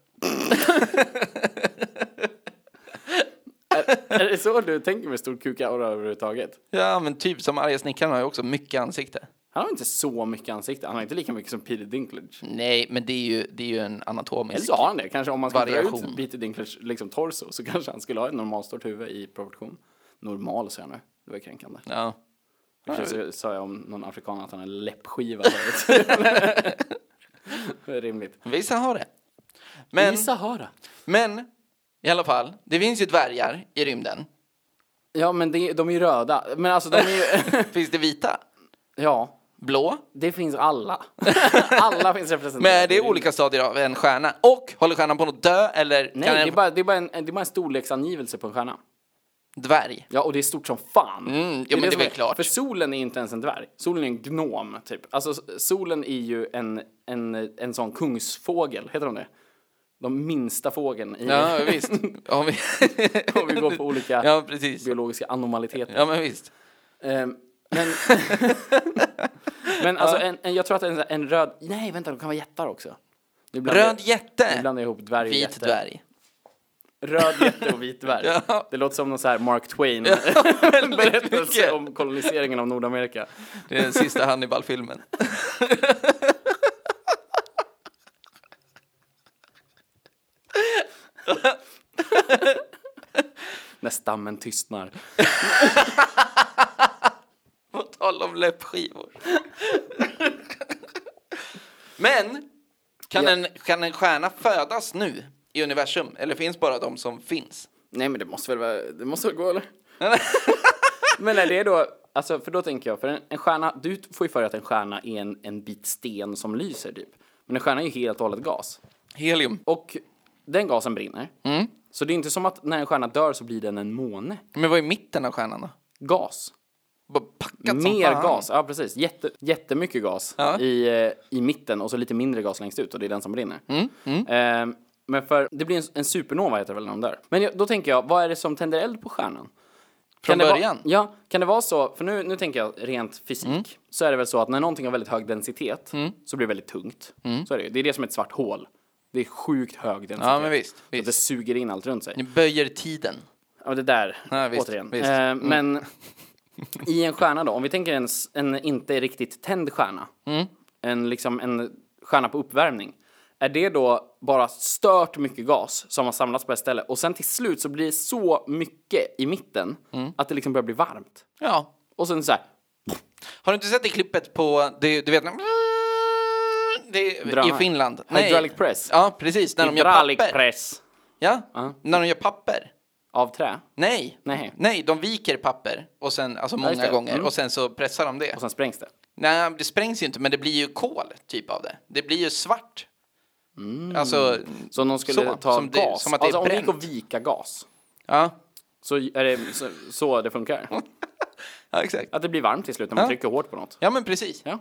S1: Är det så du tänker med stor kukaura överhuvudtaget?
S2: Ja, men typ som arga snickaren har ju också mycket ansikte.
S1: Han har inte så mycket ansikte, han har inte lika mycket som Peter Dinklage.
S2: Nej, men det är ju, det är ju en anatomisk...
S1: Eller så har han det. Kanske om man skulle dra
S2: Variation.
S1: ut Peter Dinklages liksom, torso så kanske han skulle ha ett normalstort huvud i proportion. Normal säger jag nu. Det var kränkande.
S2: Ja.
S1: Kanske så sa jag om någon afrikan att han har
S2: (laughs)
S1: läppskiva. förut. det är rimligt.
S2: Vissa har det.
S1: Men...
S2: Men,
S1: I Sahara.
S2: men, i alla fall, det finns ju dvärgar i (laughs) rymden.
S1: Ja, men det, de är ju röda. Men alltså, de är ju... (laughs)
S2: Finns det vita?
S1: ja,
S2: Blå?
S1: det finns alla. (laughs) alla finns representerade.
S2: Men det
S1: i
S2: är
S1: rymden.
S2: olika stadier av en stjärna. Och håller stjärnan på att dö eller
S1: Nej,
S2: kan
S1: det
S2: en
S1: är, bara, det, är bara en, det är bara en storleksangivelse på en stjärna.
S2: dvärg?
S1: Ja, och det är stort som fan.
S2: Mm, ja, men det är
S1: som
S2: väl klart.
S1: För solen är inte ens en dvärg. Solen är en gnom, typ. Alltså, s- solen är ju en, en, en sån kungsfågel, heter de det? De minsta fågeln i...
S2: Ja, visst. Om vi,
S1: (laughs)
S2: (laughs)
S1: Om vi går på olika
S2: Ja, precis.
S1: biologiska anomaliteter.
S2: Ja, men visst.
S1: Ehm, men...
S2: (laughs)
S1: men alltså, en, en, jag tror att en, en röd... Nej, vänta, de kan vara jättar också. Nu blandar
S2: Röd
S1: jag-
S2: jätte.
S1: Nu blandar jag ihop dvärg och
S2: Vit
S1: jätte.
S2: dvärg.
S1: Röd jätte och vit dvärg.
S2: (laughs) Ja.
S1: Det låter som någon så här Mark (laughs) Twain berättelse
S2: mycket.
S1: om koloniseringen av Nordamerika.
S2: Det är den sista Hannibal-filmen. (laughs)
S1: När stammen tystnar.
S2: På tal om läppskivor. (laughs) Men, kan,
S1: Ja.
S2: en, kan en stjärna födas nu i universum? Eller finns bara de som finns?
S1: Nej men det måste väl vara, det måste väl gå eller? (laughs) men är det då, alltså för då tänker jag, för en, en stjärna, du får ju för dig att en stjärna är en, en bit sten som lyser typ. Men en stjärna är ju helt och hållet gas.
S2: Helium.
S1: Och den gasen brinner. Så det är inte som att när en stjärna dör så blir den en måne.
S2: Men vad är mitten av stjärnan då?
S1: Gas.
S2: Bara packat som
S1: Mer
S2: fan.
S1: gas, ja precis. Jätte, jättemycket gas
S2: Ja.
S1: i, eh, i mitten och så lite mindre gas längst ut och det är den som brinner.
S2: Mm,
S1: Eh, men för, det blir en, en supernova heter det väl när de dör. Men jag, då tänker jag, vad är det som tänder eld på stjärnan?
S2: Från
S1: det
S2: början? Mm.
S1: Vara, ja, kan det vara så, för nu, nu tänker jag rent fysik, så är det väl så att när någonting har väldigt hög densitet så blir det väldigt tungt. Så är det ju. Det är det som är ett svart hål. Det är sjukt hög densitet.
S2: Mm. Ja, men visst,
S1: Så att det suger in allt runt sig.
S2: Ni böjer tiden.
S1: Ja, det där,
S2: Ja, visst,
S1: återigen.
S2: visst. Mm.
S1: Eh, Men i en stjärna då, om vi tänker en, s- en inte riktigt tänd stjärna,
S2: Mm.
S1: en, liksom, en stjärna på uppvärmning, är det då bara stört mycket gas som har samlats på ett ställe och sen till slut så blir det så mycket i mitten
S2: Mm.
S1: att det liksom börjar bli varmt.
S2: Ja.
S1: Och sen så här,
S2: Har du inte sett det klippet på, det, du vet när... Det, I
S1: Drama.
S2: Finland.
S1: Hydraulic press.
S2: Ja, precis. När de gör
S1: hydraulic
S2: papper.
S1: press
S2: Ja, när de gör papper.
S1: av trä.
S2: Nej.
S1: Nej.
S2: Nej, de viker papper och sen, alltså många
S1: just det.
S2: gånger
S1: Mm.
S2: och sen så pressar de det.
S1: Och sen sprängs det.
S2: Nej, det sprängs ju inte, men det blir ju kol typ av det. Det blir ju svart.
S1: Mm.
S2: Alltså,
S1: Så om någon skulle
S2: Så,
S1: ta
S2: som det-
S1: gas,
S2: som att det är
S1: alltså om det gick
S2: bränt.
S1: att vika gas,
S2: ja,
S1: så är det så, så det funkar.
S2: (laughs) ja exakt.
S1: Att det blir varmt till slut när man
S2: Ja.
S1: trycker hårt på något.
S2: Ja, men precis.
S1: Ja.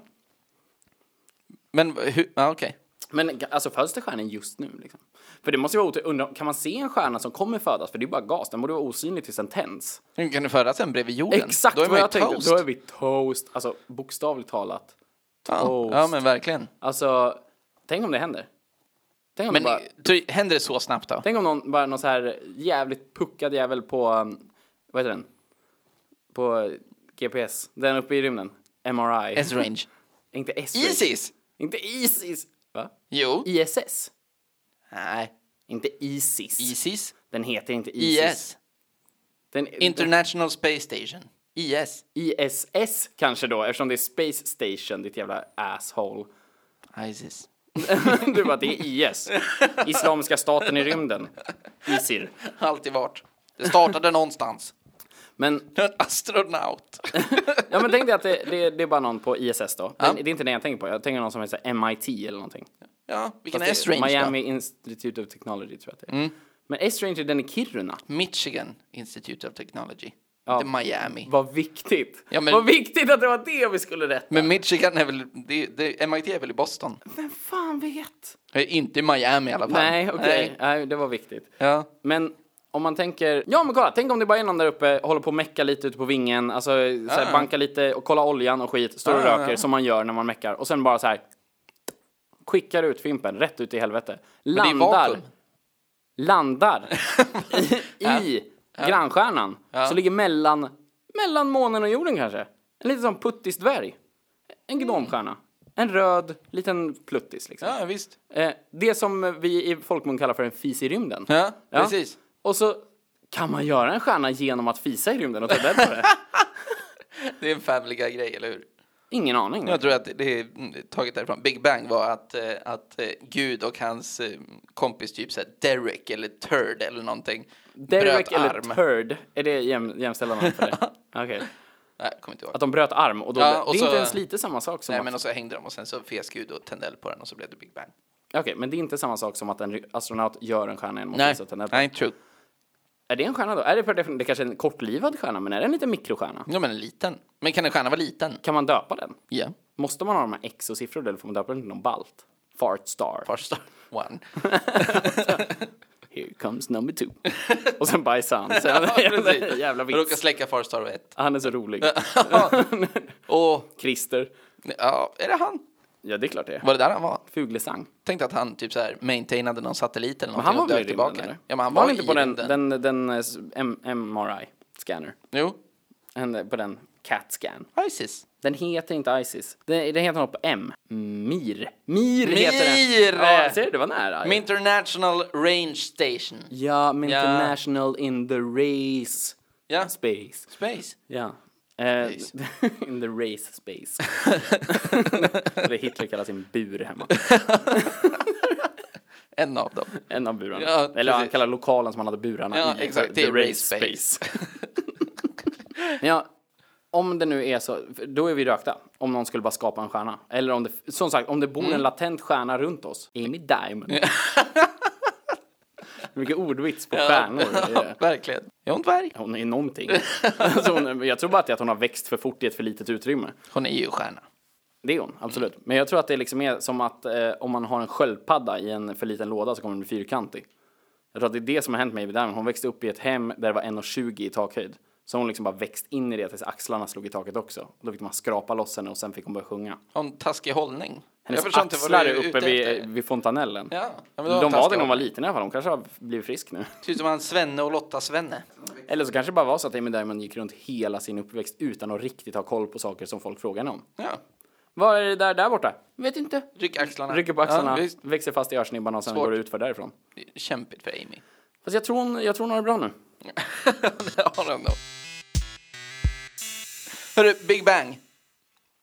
S2: Men hur, ja okej.
S1: Men g- alltså föds det stjärnor just nu? Liksom? För det måste ju vara otur. Undra, kan man se en stjärna som kommer födas? För det är ju bara gas. Den borde vara osynlig tills den tänds.
S2: Hur Kan du födas sen bredvid jorden?
S1: Exakt
S2: Då är man
S1: vad
S2: ju
S1: jag
S2: toast.
S1: tänkte. Då är vi toast. Alltså bokstavligt talat.
S2: ja.
S1: toast.
S2: ja, men verkligen.
S1: Alltså, tänk om det händer. Tänk om,
S2: Men
S1: det bara,
S2: ty, händer det så snabbt då?
S1: tänk om någon, bara någon så här jävligt puckad jävel på, um, vad heter den? På eh, GPS. Den uppe i rymden. MRI.
S2: S-range.
S1: Inte s
S2: Isis?
S1: Inte ISIS. Va?
S2: Jo.
S1: ISS.
S2: Nej.
S1: Inte ISIS.
S2: Isis?
S1: Den heter inte ISIS.
S2: IS?
S1: Den,
S2: International Space Station. IS.
S1: ISS kanske då, eftersom det är Space Station, ditt jävla asshole. (laughs)
S2: Isis.
S1: du bara, det är IS. Islamiska staten i rymden. ISIL.
S2: Alltid vart. Det startade någonstans.
S1: Men
S2: En astronaut.
S1: (laughs) Ja men tänk dig att det, det, det är bara någon på ISS då. Men Det är inte det jag tänker på. Jag tänker någon som heter MIT eller någonting.
S2: Ja, vilken
S1: Fast det är
S2: S-range
S1: Miami Institute of Technology tror jag att det är.
S2: Mm.
S1: Men S-Ranger den i Kiruna.
S2: då? Michigan Institute of Technology. Inte Miami.
S1: Vad viktigt.
S2: Ja, men-
S1: Vad viktigt att det var det vi skulle rätta.
S2: Men Michigan är väl, det, det, MIT är väl i Boston?
S1: Vem fan vet?
S2: Eh, Inte i Miami i alla fall.
S1: Nej okej, nej. det var viktigt.
S2: Ja.
S1: Men om man tänker, ja men kolla, tänk om det bara är någon där uppe, håller på och mecka lite ute på vingen, alltså så här, banka lite och kolla oljan och skit, står och
S2: Ah. Ja, ja,
S1: röker som man gör när man meckar och sen bara så här skickar ut fimpen rätt ut i helvete.
S2: Men det är
S1: Landar,
S2: vakuum.
S1: landar
S2: (laughs)
S1: i, i grannstjärnan som ligger mellan, mellan månen och jorden kanske. En liten sån puttisdvärg. En gnomstjärna. En röd liten pluttis liksom.
S2: Ja, visst.
S1: Eh, det som vi i folkmun kallar för en fis i rymden.
S2: Ja, precis.
S1: Och så kan man göra en stjärna genom att fisa i rymden och ta död
S2: (laughs)
S1: på det?
S2: Det är en Family Guy-grej, eller hur?
S1: Ingen aning.
S2: Jag tror att det- det är mm, taget därifrån. Big Bang var att, eh, att eh, Gud och hans eh, kompis typ såhär Derek eller Turd eller någonting
S1: Derek eller Turd, är det jäm, jämställda namn
S2: (laughs)
S1: för det? Okej.
S2: Nej, jag kommer inte ihåg.
S1: Att de bröt arm och då...
S2: Ja, och
S1: det är
S2: så-
S1: inte ens lite samma sak som
S2: Nej,
S1: att...
S2: men och så hängde de och sen så fes Gud och tände eld på den och så blev det Big Bang.
S1: Okej, men det är inte samma sak som att en ry- astronaut gör en stjärna genom att fisa den.
S2: Nej, true.
S1: Är det en stjärna då? Är det för definition, det kanske är en kortlivad stjärna, men är det en liten mikrostjärna?
S2: Ja, men en liten. Men kan en stjärna vara liten?
S1: Kan man döpa den?
S2: Ja.
S1: Måste man ha de här exosiffrorna eller får man döpa den till någon balt? Fart star.
S2: Första (laughs)
S1: (laughs)
S2: one.
S1: Here comes number
S2: (laughs)
S1: two. och sen bajsar han. Sen,
S2: precis.
S1: jävla
S2: Råkar
S1: vits.
S2: släcka Far Star 1.
S1: Han är så rolig.
S2: (laughs) Och,
S1: Christer.
S2: ja, är det han?
S1: Ja, det är klart det är.
S2: Var det där han var?
S1: Fuglesang.
S2: Tänkte att han typ så här maintainade någon satellit eller
S1: Men han
S2: någonting
S1: var
S2: och dök
S1: väl i rymden?
S2: tillbaka.
S1: Eller?
S2: Ja, men han
S1: var
S2: var,
S1: han inte
S2: i
S1: på den,
S2: rymden.
S1: den, den, eh, s- M- MRI scanner?
S2: Jo,
S1: En, eh, På den CAT scan.
S2: Isis.
S1: Den heter inte Isis. Den, den heter något på M. Mir. Mir, heter
S2: Mir!
S1: den. Ja, ser du? Det var nära.
S2: Med International Range Station.
S1: ja, men
S2: Ja.
S1: international in the race
S2: Ja.
S1: space.
S2: Space.
S1: Ja. Eh, (laughs)
S2: Space.
S1: in the race
S2: (laughs)
S1: space. (laughs) det Hitler kallar sin bur hemma.
S2: En av dem.
S1: En av burarna.
S2: Ja,
S1: Eller han
S2: precis.
S1: kallar lokalen som han hade burarna
S2: Ja,
S1: i.
S2: exakt.
S1: The
S2: Det är
S1: Race
S2: race space.
S1: Men (laughs) ja, om det nu är så, för då är vi rökta. Om någon skulle bara skapa en stjärna. Eller om det, som sagt, om det bor
S2: Mm.
S1: en latent stjärna runt oss. Amy Diamond. (laughs) Mycket ordvits på stjärnor. Det är-
S2: (laughs) Verkligen. Är hon dvärg?
S1: Hon är
S2: (laughs)
S1: någonting. alltså hon, jag tror bara att det är att hon har växt för fort i ett för litet utrymme.
S2: Hon är ju stjärna.
S1: Det är hon, absolut. Men jag tror att det liksom är som att eh, om man har en sköldpadda i en för liten låda så kommer den bli fyrkantig. Jag tror att det är det som har hänt med Amy Diamond. Hon växte upp i ett hem där det var 1,20 i takhöjd. Så hon liksom bara växt in i det tills axlarna slog i taket också. Och då fick man skrapa loss henne och sen fick hon börja sjunga.
S2: Har hon taskig hållning?
S1: Hennes
S2: förstår inte vad du
S1: axlar är
S2: ute
S1: uppe vid,
S2: efter.
S1: vid fontanellen.
S2: Ja, ja, men då har
S1: De var det
S2: taskig
S1: när hon var
S2: hållning.
S1: liten i alla fall. Hon kanske har blivit frisk nu.
S2: Ser ut som han Svenne och Lotta-Svenne.
S1: Eller så kanske det bara var så att Amy Diamond gick runt hela sin uppväxt utan att riktigt ha koll på saker som folk frågar henne om.
S2: Ja.
S1: Vad är det där, där borta? Vet inte.
S2: Ryck axlarna.
S1: Rycker på axlarna,
S2: Ja, visst.
S1: växer fast i örsnibbarna och sen
S2: Svårt.
S1: går det ut för därifrån.
S2: Det är Kämpigt för Amy. (laughs)
S1: Fast jag tror hon, jag tror hon har det bra nu.
S2: det har hon nog. Hörru, Big Bang.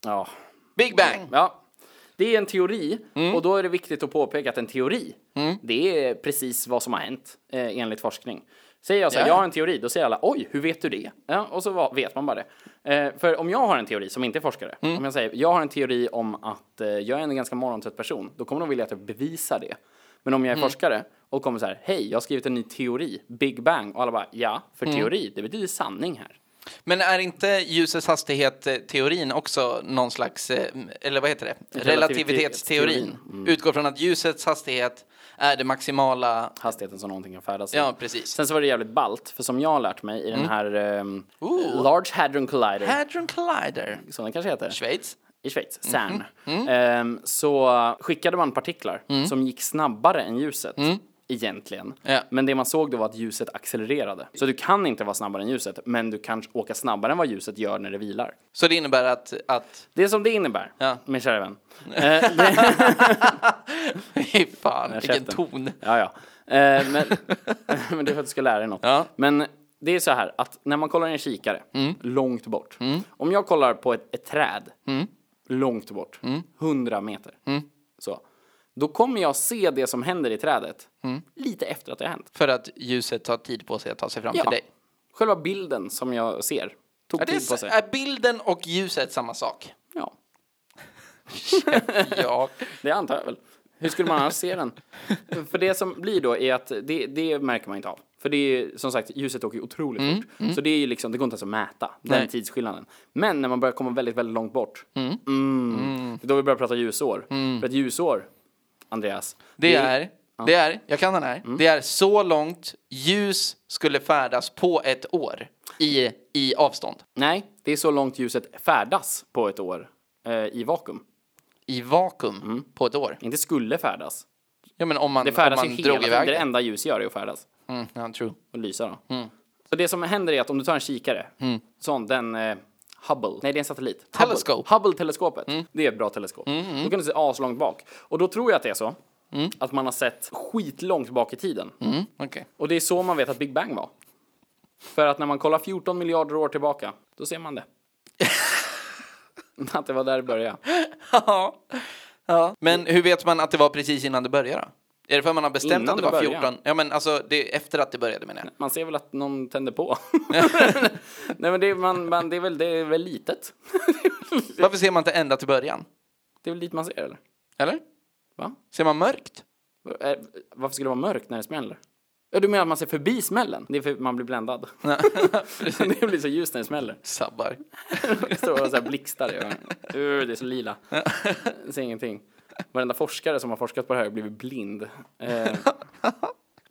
S1: Ja.
S2: Big Bang.
S1: ja. Det är en teori och då är det viktigt att påpeka att en teori, det är precis vad som har hänt eh, enligt forskning. Säger jag så här,
S2: Ja.
S1: jag har en teori, då säger alla oj, hur vet du det? Ja, och så va- vet man bara det. Eh, för om jag har en teori som inte är forskare, om jag säger jag har en teori om att eh, jag är en ganska morgontrött person, då kommer de vilja att jag bevisar det. Men om jag är forskare och kommer så här, hej, jag har skrivit en ny teori, Big Bang, och alla bara ja, för teori, det betyder sanning här.
S2: Men är inte ljusets hastighet-teorin också någon slags, eh, eller vad heter det,
S1: Relativitetsteorin.
S2: relativitetsteorin?
S1: Mm.
S2: Utgår från att ljusets hastighet är det maximala,
S1: Hastigheten som någonting kan färdas i.
S2: ja precis. Mm.
S1: Sen så var det jävligt ballt, för som jag har lärt mig i den här ehm,
S2: Ooh.
S1: Large Hadron Collider,
S2: Hadron Collider,
S1: som den kanske heter,
S2: Schweiz.
S1: i Schweiz,
S2: Mm-hmm.
S1: CERN,
S2: Mm.
S1: ehm, så skickade man partiklar som gick snabbare än ljuset. Egentligen.
S2: Mm. Ja.
S1: Men det man såg då var att ljuset accelererade. Så du kan inte vara snabbare än ljuset, men du kan åka snabbare än vad ljuset gör när det vilar.
S2: Så det innebär att, att
S1: Det är som det innebär,
S2: Ja.
S1: min kära
S2: (laughs)
S1: vän. Eh, det,
S2: fy fan vilken
S1: käften.
S2: ton.
S1: ja, ja. Eh, men, (laughs) men det är för att du ska lära dig något.
S2: Ja. Mm.
S1: Men det är så här att när man kollar i en kikare, långt bort. Om jag kollar på ett, ett träd,
S2: Mm.
S1: långt bort, 100 meter. Så, då kommer jag se det som händer i trädet
S2: Mm.
S1: lite efter att det har hänt.
S2: För att ljuset tar tid på sig att ta sig fram till dig.
S1: Själva bilden som jag ser tog
S2: Är, äh. det,
S1: tid på
S2: s-
S1: sig.
S2: är bilden och ljuset
S1: (laughs)
S2: samma sak?
S1: Ja,
S2: ja.
S1: det antar jag väl. Hur skulle man annars se den? För det som blir då är att det, det märker man inte av. För det är ju, som sagt, ljuset åker ju otroligt fort. Så det är ju liksom, det går inte ens att mäta den
S2: Mm, Nej.
S1: tidsskillnaden. Men när man börjar komma väldigt, väldigt långt bort. Mm, Det är då vi börjar prata ljusår. För ett ljusår, Andreas.
S2: Mm. Det är, det är, jag kan den här.
S1: Mm.
S2: Det är så långt ljus skulle färdas på ett år i, i avstånd.
S1: Nej, det är så långt ljuset färdas på ett år eh, i vakuum.
S2: I vakuum på ett år.
S1: Inte skulle färdas.
S2: Ja men om man,
S1: Mm. Det
S2: om
S1: färdas ju
S2: man
S1: hela
S2: drog
S1: tiden. Det är
S2: iväg
S1: det
S2: det.
S1: enda ljus gör är att färdas.
S2: Mm, ja, true.
S1: och lysa då. Så det som händer är att om du tar en kikare, sån, den eh, Hubble, nej det är en satellit. Hubble.
S2: Telescope.
S1: Hubble-teleskopet, det är ett bra teleskop. Då kan du se aslångt bak. Och då tror jag att det är så, att man har sett skitlångt bak i tiden.
S2: Mm, okej.
S1: (laughs) Och det är så man vet att Big Bang var. För att när man kollar 14 miljarder år tillbaka, då ser man det. (laughs) att det var där det började.
S2: ja. ja. Men hur vet man att det var precis innan det började då? Är det för att man har bestämt
S1: Innan
S2: att det
S1: det
S2: var
S1: började.
S2: 14? Ja men alltså det är efter att det började menar jag.
S1: Man ser väl att någon tänder på. (laughs) nej men det är, man, man, det är, väl, det är väl litet.
S2: Varför ser man inte ända till början?
S1: det är väl dit man ser eller?
S2: Eller?
S1: Va?
S2: Ser man mörkt?
S1: Eh, Varför skulle det vara mörkt när det smäller? Ja, du menar att man ser förbi smällen? Det är för att man blir bländad. (laughs) det blir så ljust när det smäller.
S2: Sabbar.
S1: Det (laughs) står och så här blixtar i ögonen. Uh, det är så lila. Jag ser ingenting. Varenda forskare som har forskat på det här har blivit blind.
S2: (laughs)
S1: Eh,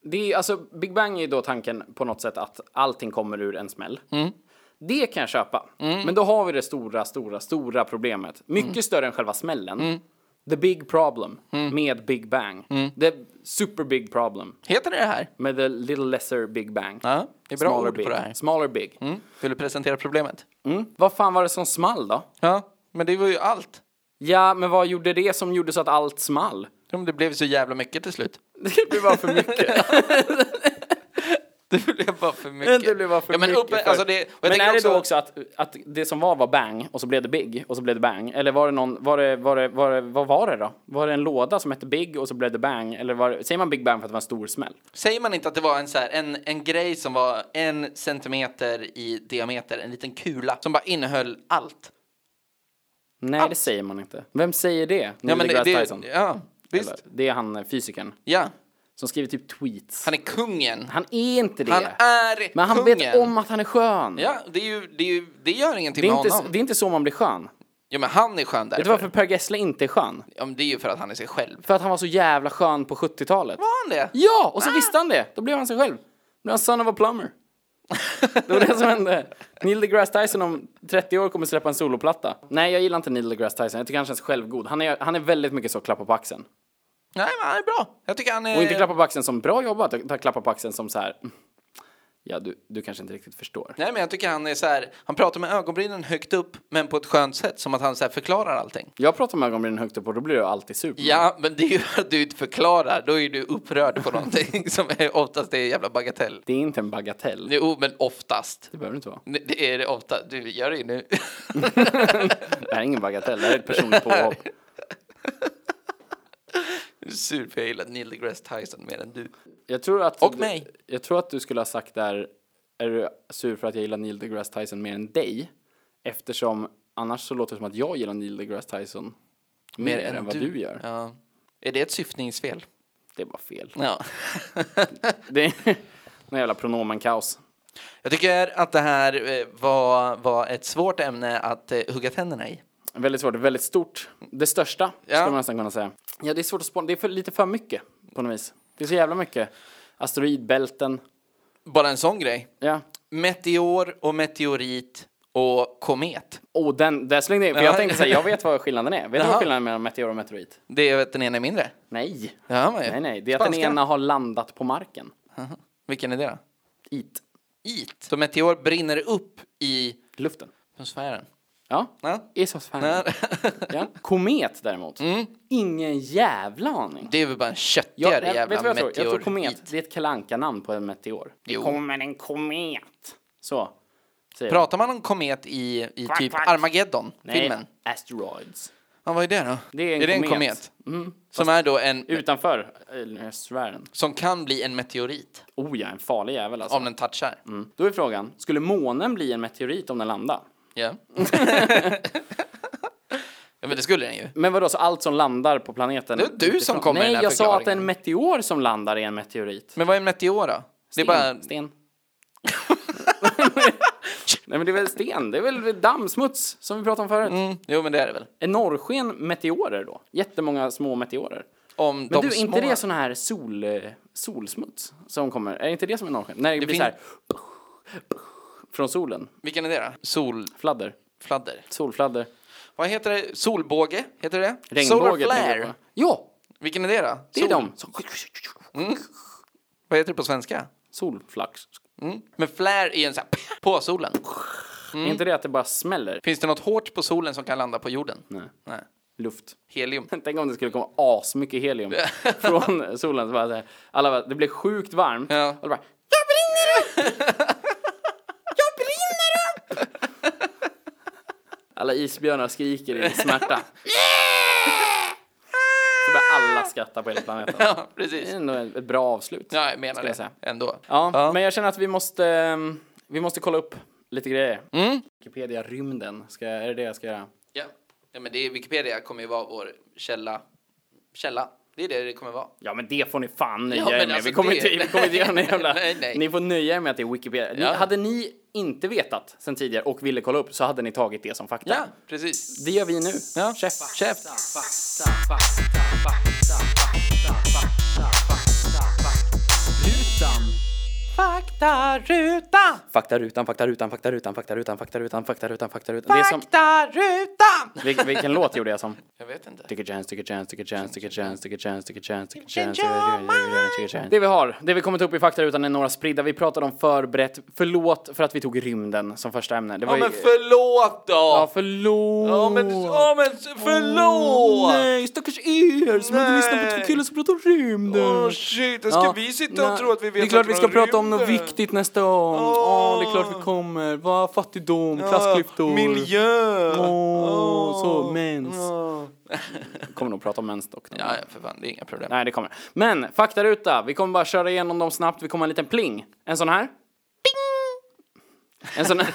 S1: det är, alltså, Big Bang är ju då tanken på något sätt att allting kommer ur en smäll.
S2: Mm.
S1: Det kan jag köpa. Men då har vi det stora, stora, stora problemet. Mycket
S2: Mm.
S1: större än själva smällen. The big problem med Big Bang.
S2: Mm.
S1: The super big problem
S2: Heter det det här?
S1: med the little lesser Big Bang.
S2: Ja, det är bra
S1: Smaller
S2: ord på
S1: big.
S2: det här.
S1: Smaller big. Mm.
S2: Mm. Vill du presentera problemet?
S1: Vad fan var det som small då?
S2: Ja, men det var ju allt.
S1: Ja, men vad gjorde det som gjorde så att allt small?
S2: Ja, men Det blev så jävla mycket till slut. (laughs)
S1: Det blev bara för mycket.
S2: Det blev bara för
S1: (laughs)
S2: mycket.
S1: det blev bara för
S2: ja, men
S1: mycket.
S2: uppe,
S1: för-
S2: alltså det, och jag
S1: men
S2: tänker
S1: är
S2: också,
S1: det då också att, att det som var var bang och så blev det big och så blev det bang? Eller var det någon, var det, var det, var det, vad var det då? Var det en låda som hette big och så blev det bang? Eller var det, säger man big bang för att det var en stor smäll?
S2: Säger man inte att det var en, så här, en, en grej som var en centimeter i diameter, en liten kula som bara innehöll allt?
S1: Nej, det säger man inte. Vem säger det? Neil
S2: Ja, men det,
S1: deGrasse
S2: det,
S1: Tyson?
S2: ja visst.
S1: Eller, det är han eh, fysikern
S2: Ja,
S1: som skriver typ tweets. Han,
S2: han är kungen.
S1: är inte det.
S2: Han är
S1: men han
S2: kungen.
S1: vet om att han är skön.
S2: Ja, det, är ju, det, är ju, det gör ingenting
S1: Det är,
S2: med
S1: inte,
S2: honom.
S1: det är inte så man blir skön. Vet
S2: Ja, men han är skön
S1: du
S2: därför.
S1: varför Per Gessle inte är skön?
S2: Ja, men det är ju för att han är sig själv.
S1: För att han var så jävla skön på 70-talet.
S2: Var han det?
S1: Ja, och så visste han det. Då blev han sig själv. Nu är han son of a plumber. Det var det som hände. Neil deGrasse Tyson om 30 år kommer släppa en soloplatta. Nej, jag gillar inte Neil deGrasse Tyson. Jag tycker han känns självgod. Han är, han är väldigt mycket så klappa på axeln.
S2: Nej, men han är bra. Jag tycker han är...
S1: Och inte klappa på axeln som bra jobbat, utan klappa på axeln som så här. "Mm, Ja, du, du kanske inte riktigt förstår.
S2: Nej men jag tycker han är så här, han pratar med ögonbrynen högt upp men på ett skönt sätt som att han så här förklarar allting.
S1: Jag pratar med ögonbrynen högt upp och då blir du alltid sur. på mig.
S2: Ja, men det är ju för att du inte förklarar, då är du upprörd på någonting (laughs) som är oftast är en jävla bagatell.
S1: Det är inte en bagatell.
S2: Jo, men oftast.
S1: Det behöver det inte vara.
S2: Det- Det är det ofta. Du, gör det ju nu. (laughs)
S1: Det här är ingen bagatell, det här är ett personligt påhopp.
S2: Jag är Sur för jag gillar Neil deGrasse Tyson mer än du.
S1: Jag tror att...
S2: Och
S1: du,
S2: mig.
S1: Jag tror att du skulle ha sagt där, är du sur för att jag gillar Neil deGrasse Tyson mer än dig? Eftersom annars så låter det som att jag gillar Neil deGrasse Tyson mer, än, vad du, gör.
S2: Ja. Är det ett syftningsfel?
S1: Det var fel.
S2: Ja.
S1: (laughs) Det är någon jävla pronomenkaos.
S2: Jag tycker att det här eh, var, var ett svårt ämne att eh, hugga tänderna i.
S1: Väldigt svårt, väldigt stort. Det största,
S2: Ja.
S1: skulle man nästan kunna säga. Ja, det är svårt att spåna. Det är för, lite för mycket, på något vis. Det är så jävla mycket. Asteroidbälten.
S2: Bara en sån grej.
S1: Ja.
S2: Meteor och meteorit och komet.
S1: Och Oh, den, där slängde jag in, för
S2: Ja.
S1: jag tänkte säga, jag vet vad skillnaden är. Vet du
S2: Jaha.
S1: vad skillnaden är mellan meteor och meteorit?
S2: Det är att den ena är mindre.
S1: Nej.
S2: Det hör man ju.
S1: Nej, nej. Det är att den
S2: Spanska.
S1: ena har landat på marken.
S2: Aha. Vilken är det då?
S1: It.
S2: It. Så meteor brinner upp i
S1: Luften.
S2: atmosfären.
S1: Ja.
S2: Ja.
S1: Isosfären. Ja. Komet däremot. Ingen jävla aning.
S2: (laughs) Mm. Det är väl bara en
S1: Ja,
S2: köttigare
S1: nej, vet du
S2: jävla
S1: vad jag tror?
S2: meteor.
S1: Jag tror komet, det är ett kalanka namn på en meteor. Det
S2: Jo.
S1: kommer en komet. Så. Säger de.
S2: Pratar man om komet i, i
S1: Kvack,
S2: typ
S1: kvack.
S2: Armageddon,
S1: Nej,
S2: filmen?
S1: asteroids.
S2: Ja, vad är det då?
S1: Det är en
S2: är det en
S1: komet.
S2: komet? Mm. Som är då en,
S1: Utanför eh, sfären.
S2: som kan bli en meteorit
S1: Oh ja, en farlig jävel alltså.
S2: om den touchar.
S1: Mm. Då är frågan, skulle månen bli en meteorit om den landade? (laughs)
S2: Ja. ja, men det skulle den ju.
S1: Men vadå, så allt som landar på planeten?
S2: Det var du som kom med
S1: Nej,
S2: den här
S1: jag sa att
S2: förklaringen.
S1: en meteor som landar är en meteorit.
S2: Men vad är en meteor då? Det är bara...
S1: Sten. (laughs) Nej men det är väl sten, det är väl dammsmuts som vi pratade om förut.
S2: Mm, jo, men det är det väl.
S1: Är norrsken meteorer då? Jättemånga små meteorer.
S2: Om
S1: Men
S2: de
S1: du, är
S2: små...
S1: inte det sån här sol, eh, solsmuts som kommer? Är det inte det som är norrsken? När det, blir
S2: fin-
S1: så här... Från solen.
S2: Vilken är det då?
S1: Fladder.
S2: Solfladder.
S1: Solfladder.
S2: Vad heter det? Solbåge? Heter det det? Solar
S1: Regnbåge tänker jag
S2: flare.
S1: på. Ja,
S2: Vilken är det då?
S1: det är
S2: Sol-
S1: de. Som-
S2: Vad heter det på svenska?
S1: Solflax.
S2: Mm. Men flare är en sån här... På solen. Mm.
S1: Är inte det att det bara smäller?
S2: Finns det något hårt på solen som kan landa på jorden?
S1: Nej.
S2: Nej.
S1: Luft.
S2: Helium.
S1: (laughs) Tänk om det skulle komma asmycket
S2: (laughs)
S1: helium från solen. Så bara, så här, alla bara, det blir sjukt varmt.
S2: Ja. (laughs)
S1: Och det bara, alla isbjörnar skriker
S2: (laughs)
S1: i smärta. Så börjar alla skratta på hela planeten.
S2: ja,
S1: Det
S2: precis.
S1: är ändå ett bra avslut.
S2: Ja, jag menar
S1: Eh. Skulle jag
S2: det.
S1: säga.
S2: Ändå.
S1: Ja, men jag känner att vi måste, ehm, vi måste kolla upp lite grejer.
S2: Mm.
S1: Wikipedia rymden, ska, jag- är det det jag ska göra?
S2: Ja. ja, men det är Wikipedia kommer ju vara vår källa. Källa. Det är det det kommer vara.
S1: Ja men det får ni fan nöja
S2: Ja, men
S1: er med.
S2: alltså
S1: vi kommer
S2: det-
S1: inte, vi kommer inte göra någon jävla...
S2: (laughs) Nej, nej.
S1: Ni får nöja er med att det är Wikipedia. Ni,
S2: Ja.
S1: Hade ni inte vetat sen tidigare och ville kolla upp så hade ni tagit det som fakta.
S2: Ja, precis.
S1: Det gör vi nu.
S2: Ja.
S1: Chef.
S2: Chef. Faktarutan!
S1: Faktarutan, faktarutan, faktarutan, faktarutan, faktarutan, faktarutan, faktarutan. Det är som...
S2: Faktarutan!
S1: Vil, vilken låt gjorde jag som?
S2: Jag vet inte.
S1: Take a chance, take a chance, take a chance, take a chance, take a chance, take a chance, take a chance, take a chance, take a chance. Det vi har, det vi kommit upp i faktarutan är några spridda. Vi pratade om förberett. Förlåt för att vi tog rymden som första ämne. Det var ju-
S2: Ja men förlåt då!
S1: Ja, förlåt!
S2: Ja men, ja, men förlåt!
S1: Nej, stackars er som hade
S2: Nej.
S1: lyssnat på två killar som pratar om rymden.
S2: Åh shit, ska
S1: Ja,
S2: vi sitta och
S1: nej.
S2: tro att vi vet
S1: Det är klart vi ska
S2: något
S1: prata om något
S2: rymden?
S1: viktigt nästa gång. Ja, det är klart vi kommer. Va, fattigdom, klassklyftor.
S2: Miljö!
S1: Åh, så mens. Kommer nog prata om mens dock.
S2: Ja, ja, för fan, det är inga problem.
S1: Nej, det kommer. Men faktaruta, vi kommer bara köra igenom dem snabbt. Vi kommer ha en liten pling. En sån här. Ping! En sån här.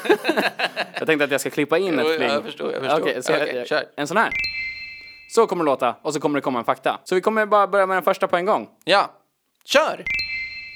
S1: (laughs) jag tänkte att jag ska klippa in
S2: Jo,
S1: ett
S2: jag
S1: pling.
S2: förstår, jag förstår.
S1: Okej, så
S2: Okej,
S1: jag,
S2: kör.
S1: En sån här. Så kommer det låta och så kommer det komma en fakta. Så vi kommer bara börja med den första på en gång.
S2: Ja, kör!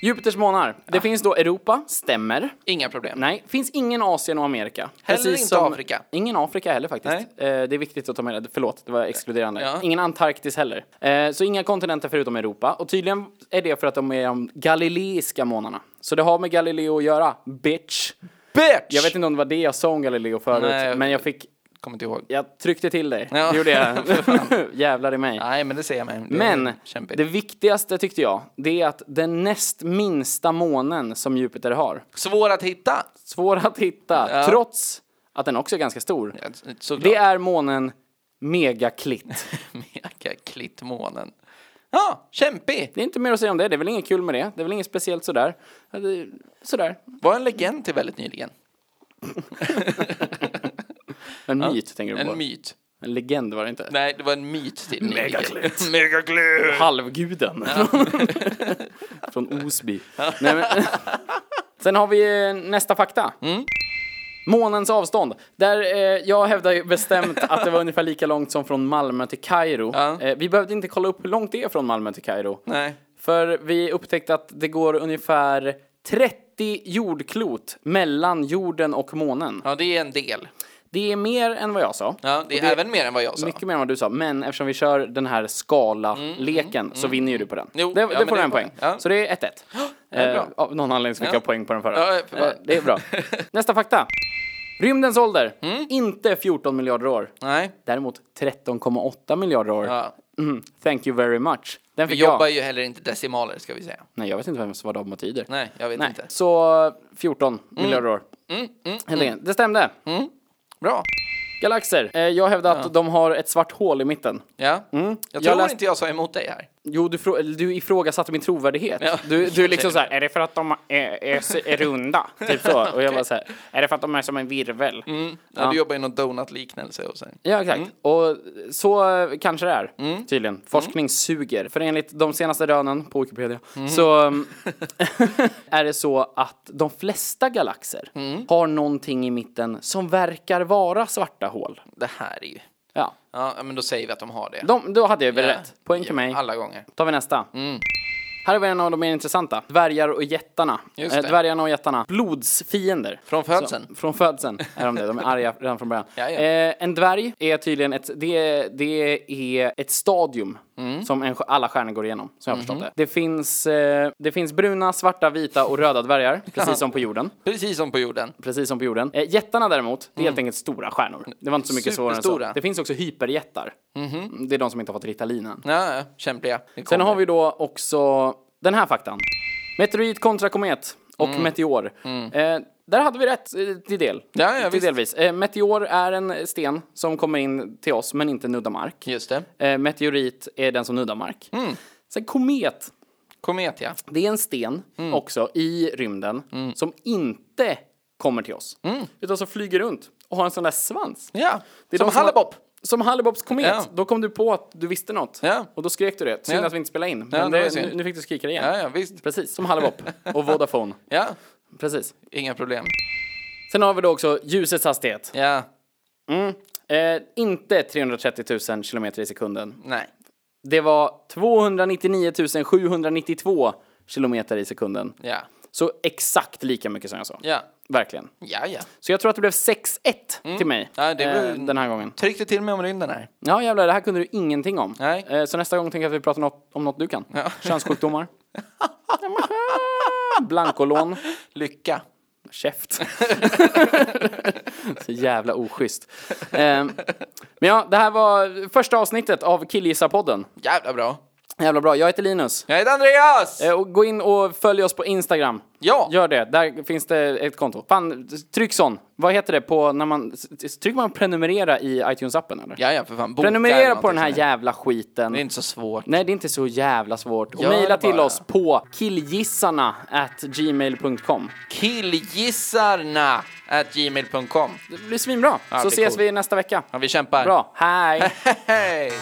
S1: Jupiters månar. Det finns då Europa, stämmer.
S2: Inga problem.
S1: Nej, finns ingen Asien och Amerika.
S2: Heller inte Afrika.
S1: Ingen Afrika heller faktiskt. Eh, det är viktigt att ta med det. Förlåt, det var exkluderande.
S2: Ja.
S1: Ingen Antarktis heller. Eh, så inga kontinenter förutom Europa. Och tydligen är det för att de är de galileiska månarna. Så det har med Galileo att göra, bitch.
S2: Bitch!
S1: Jag vet inte om det var det jag sa om Galileo förut,
S2: Nej, jag-
S1: men jag fick...
S2: Kommer inte ihåg.
S1: Jag tryckte till dig.
S2: Ja.
S1: Det gjorde
S2: (laughs)
S1: jag. Jävlar i mig.
S2: Nej, men det ser jag med. Det är
S1: Men
S2: kämpigt.
S1: det viktigaste tyckte jag, det är att den näst minsta månen som Jupiter har,
S2: Svår att hitta!
S1: svår att hitta,
S2: Ja.
S1: trots att den också är ganska stor,
S2: Ja, Såklart.
S1: det är månen Megaklitt.
S2: Mega klittmånen. Ja, kämpig!
S1: Det är inte mer att säga om det, det är väl inget kul med det, det är väl inget speciellt sådär. Ja, det- Sådär.
S2: Var en legend till väldigt nyligen.
S1: En myt tänker du på.
S2: En myt.
S1: En legend var det inte.
S2: Nej, det var en myt till nyligen. (laughs)
S1: Megaklitt.
S2: Megaklitt!
S1: (laughs) Halvguden. (laughs) Från Osby. Nej, men... (laughs) Sen har vi eh, nästa fakta.
S2: Mm.
S1: Månens avstånd. Där, eh, jag hävdar ju bestämt att det var ungefär lika långt som från Malmö till Kairo.
S2: Ja.
S1: Eh, vi behövde inte kolla upp hur långt det är från Malmö till Kairo.
S2: Nej.
S1: För vi upptäckte att det går ungefär 30 jordklot mellan jorden och månen.
S2: Ja, det är en del.
S1: Det är mer än vad jag sa.
S2: Ja, det är
S1: Och
S2: även mer än vad jag sa.
S1: Mycket mer än vad du sa, men eftersom vi kör den här
S2: Mm,
S1: skala-leken så vinner ju du på den.
S2: Jo,
S1: det
S2: ja,
S1: det
S2: men
S1: får
S2: det
S1: du
S2: är
S1: en poäng.
S2: poäng. Ja.
S1: Så det är 1-1. Eh, av någon anledning så fick
S2: Ja.
S1: jag poäng på den förra.
S2: Ja, för-
S1: Eh, det är
S2: (laughs)
S1: bra. Nästa fakta. Rymdens ålder,
S2: Mm.
S1: inte 14 miljarder år.
S2: Nej,
S1: Däremot 13,8 miljarder år.
S2: ja.
S1: Mm, thank you very much. Den
S2: vi
S1: fick
S2: jobbar
S1: jag.
S2: ju heller inte decimaler ska vi säga.
S1: Nej, jag vet inte vem som vad de betyder.
S2: Nej, jag vet
S1: Nej.
S2: inte. Mm.
S1: Så 14 miljarder år. Helt enkelt. Det stämde.
S2: Bra.
S1: Galaxer. Eh, Jag hävdar att de har ett svart hål i mitten.
S2: Ja. Jag
S1: Mm. Jag
S2: tror
S1: läste-
S2: inte jag sa emot dig här.
S1: Jo, du, frå- eller du ifrågasatte min trovärdighet.
S2: Ja.
S1: Du, du är liksom
S2: (laughs)
S1: så här, är det för att de är, är, är runda? Typ så. Och jag bara så här, är det för att de är som en virvel?
S2: Ja, Du jobbar i någon donut-liknelse och sen.
S1: Ja, exakt. Och så eh, kanske det är,
S2: Mm.
S1: tydligen. Forskning suger. För enligt de senaste rönen på Wikipedia så (laughs) mm, är det så att de flesta galaxer
S2: Mm.
S1: har någonting i mitten som verkar vara svarta hål.
S2: Det här är ju...
S1: Ja,
S2: Ja, men då säger vi att de har det.
S1: de, då hade jag väl
S2: Ja.
S1: rätt. Poäng till
S2: Ja,
S1: mig.
S2: Alla gånger.
S1: tar vi nästa.
S2: Mm.
S1: Här har vi en av de mer intressanta. Dvärgar och jättarna.
S2: Just
S1: Eh,
S2: det.
S1: Dvärgarna och jättarna. Blodsfiender.
S2: Från födseln.
S1: Så, från födseln är de det. De är arga (laughs) redan från början.
S2: Ja, ja.
S1: Eh, en dvärg är tydligen ett, det, det är ett stadium
S2: Mm.
S1: som en, alla stjärnor går igenom, som jag har
S2: Mm-hmm.
S1: förstått det. Det finns, eh, det finns bruna, svarta, vita och röda
S2: (laughs)
S1: dvärgar, precis som på jorden.
S2: Precis som på jorden.
S1: Precis som på jorden. Eh, jättarna däremot, det är helt enkelt stora stjärnor. Det var inte så mycket svårare än så.
S2: Mm. Superstora. Mm-hmm.
S1: Det finns också hyperjättar. Det är de som inte har fått Ritalin än.
S2: Ja, ja, kämpliga. Det
S1: Sen
S2: kommer.
S1: har vi då också den här faktan. Meteorit kontra komet och
S2: Mm.
S1: meteor. Eh, där hade vi rätt eh, till del.
S2: Ja, ja,
S1: till
S2: visst.
S1: delvis. Eh, meteor är en sten som kommer in till oss men inte nuddar mark.
S2: Just det.
S1: Eh, meteorit är den som nuddar mark.
S2: Mm.
S1: Sen komet,
S2: Komet, ja.
S1: det är en sten
S2: Mm.
S1: också i rymden som inte kommer till oss.
S2: Mm.
S1: Utan som flyger runt och har en sån där svans.
S2: Ja,
S1: Det är
S2: som
S1: de har-
S2: Hallebopp.
S1: Som Hallebops komet.
S2: Ja.
S1: Då kom du på att du visste något.
S2: Ja.
S1: Och då skrek du det. Synd
S2: Ja.
S1: att vi inte spelade in. Men
S2: det var
S1: det,
S2: synd.
S1: nu, nu fick du skrika det igen.
S2: Ja, ja, visst.
S1: Precis, som Hallebop och
S2: (laughs)
S1: Vodafone.
S2: Ja,
S1: Precis.
S2: inga problem.
S1: Sen har vi då också ljusets hastighet.
S2: Ja,
S1: Eh, inte 330 000 kilometer i sekunden.
S2: nej.
S1: Det var 299 792 kilometer i sekunden.
S2: Ja,
S1: Så exakt lika mycket som jag sa.
S2: ja,
S1: Verkligen.
S2: ja, ja.
S1: Så jag tror att det blev 6-1 till mig
S2: Mm.
S1: eh,
S2: Ja, det var-
S1: den här gången.
S2: Tryckte till mig om rymden här.
S1: Ja jävlar, det här kunde du ingenting om.
S2: Nej.
S1: Eh, Så nästa gång tänker jag att vi pratar något, om något du kan.
S2: Ja. (laughs)
S1: Könssjukdomar. Blankolån.
S2: Lycka. (laughs)
S1: Käft. Så jävla oschysst. Eh, Men ja, det här var första avsnittet av Killgissa-podden.
S2: Jävla bra.
S1: Jävla bra. Jag heter Linus.
S2: Jag heter Andreas!
S1: Eh, Och gå in och följ oss på Instagram.
S2: Ja.
S1: Gör det. Där finns det ett konto. Fan, tryck sån. Vad heter det på när man... Trycker man prenumerera i iTunes-appen eller?
S2: Ja, ja, för fan. Boka eller
S1: Prenumerera på
S2: någonting
S1: den här
S2: sånt där.
S1: jävla skiten.
S2: Det är inte så svårt.
S1: Nej, det är inte så jävla svårt. Och
S2: Gör
S1: mejla
S2: det
S1: till
S2: bara.
S1: oss på killgissarna at gmail.com.
S2: Killgissarna at gmail.com.
S1: Det blir svinbra.
S2: det
S1: så
S2: blir
S1: ses
S2: coolt.
S1: vi nästa vecka.
S2: Ja, vi kämpar.
S1: Bra. Hej!
S2: (laughs) Hej!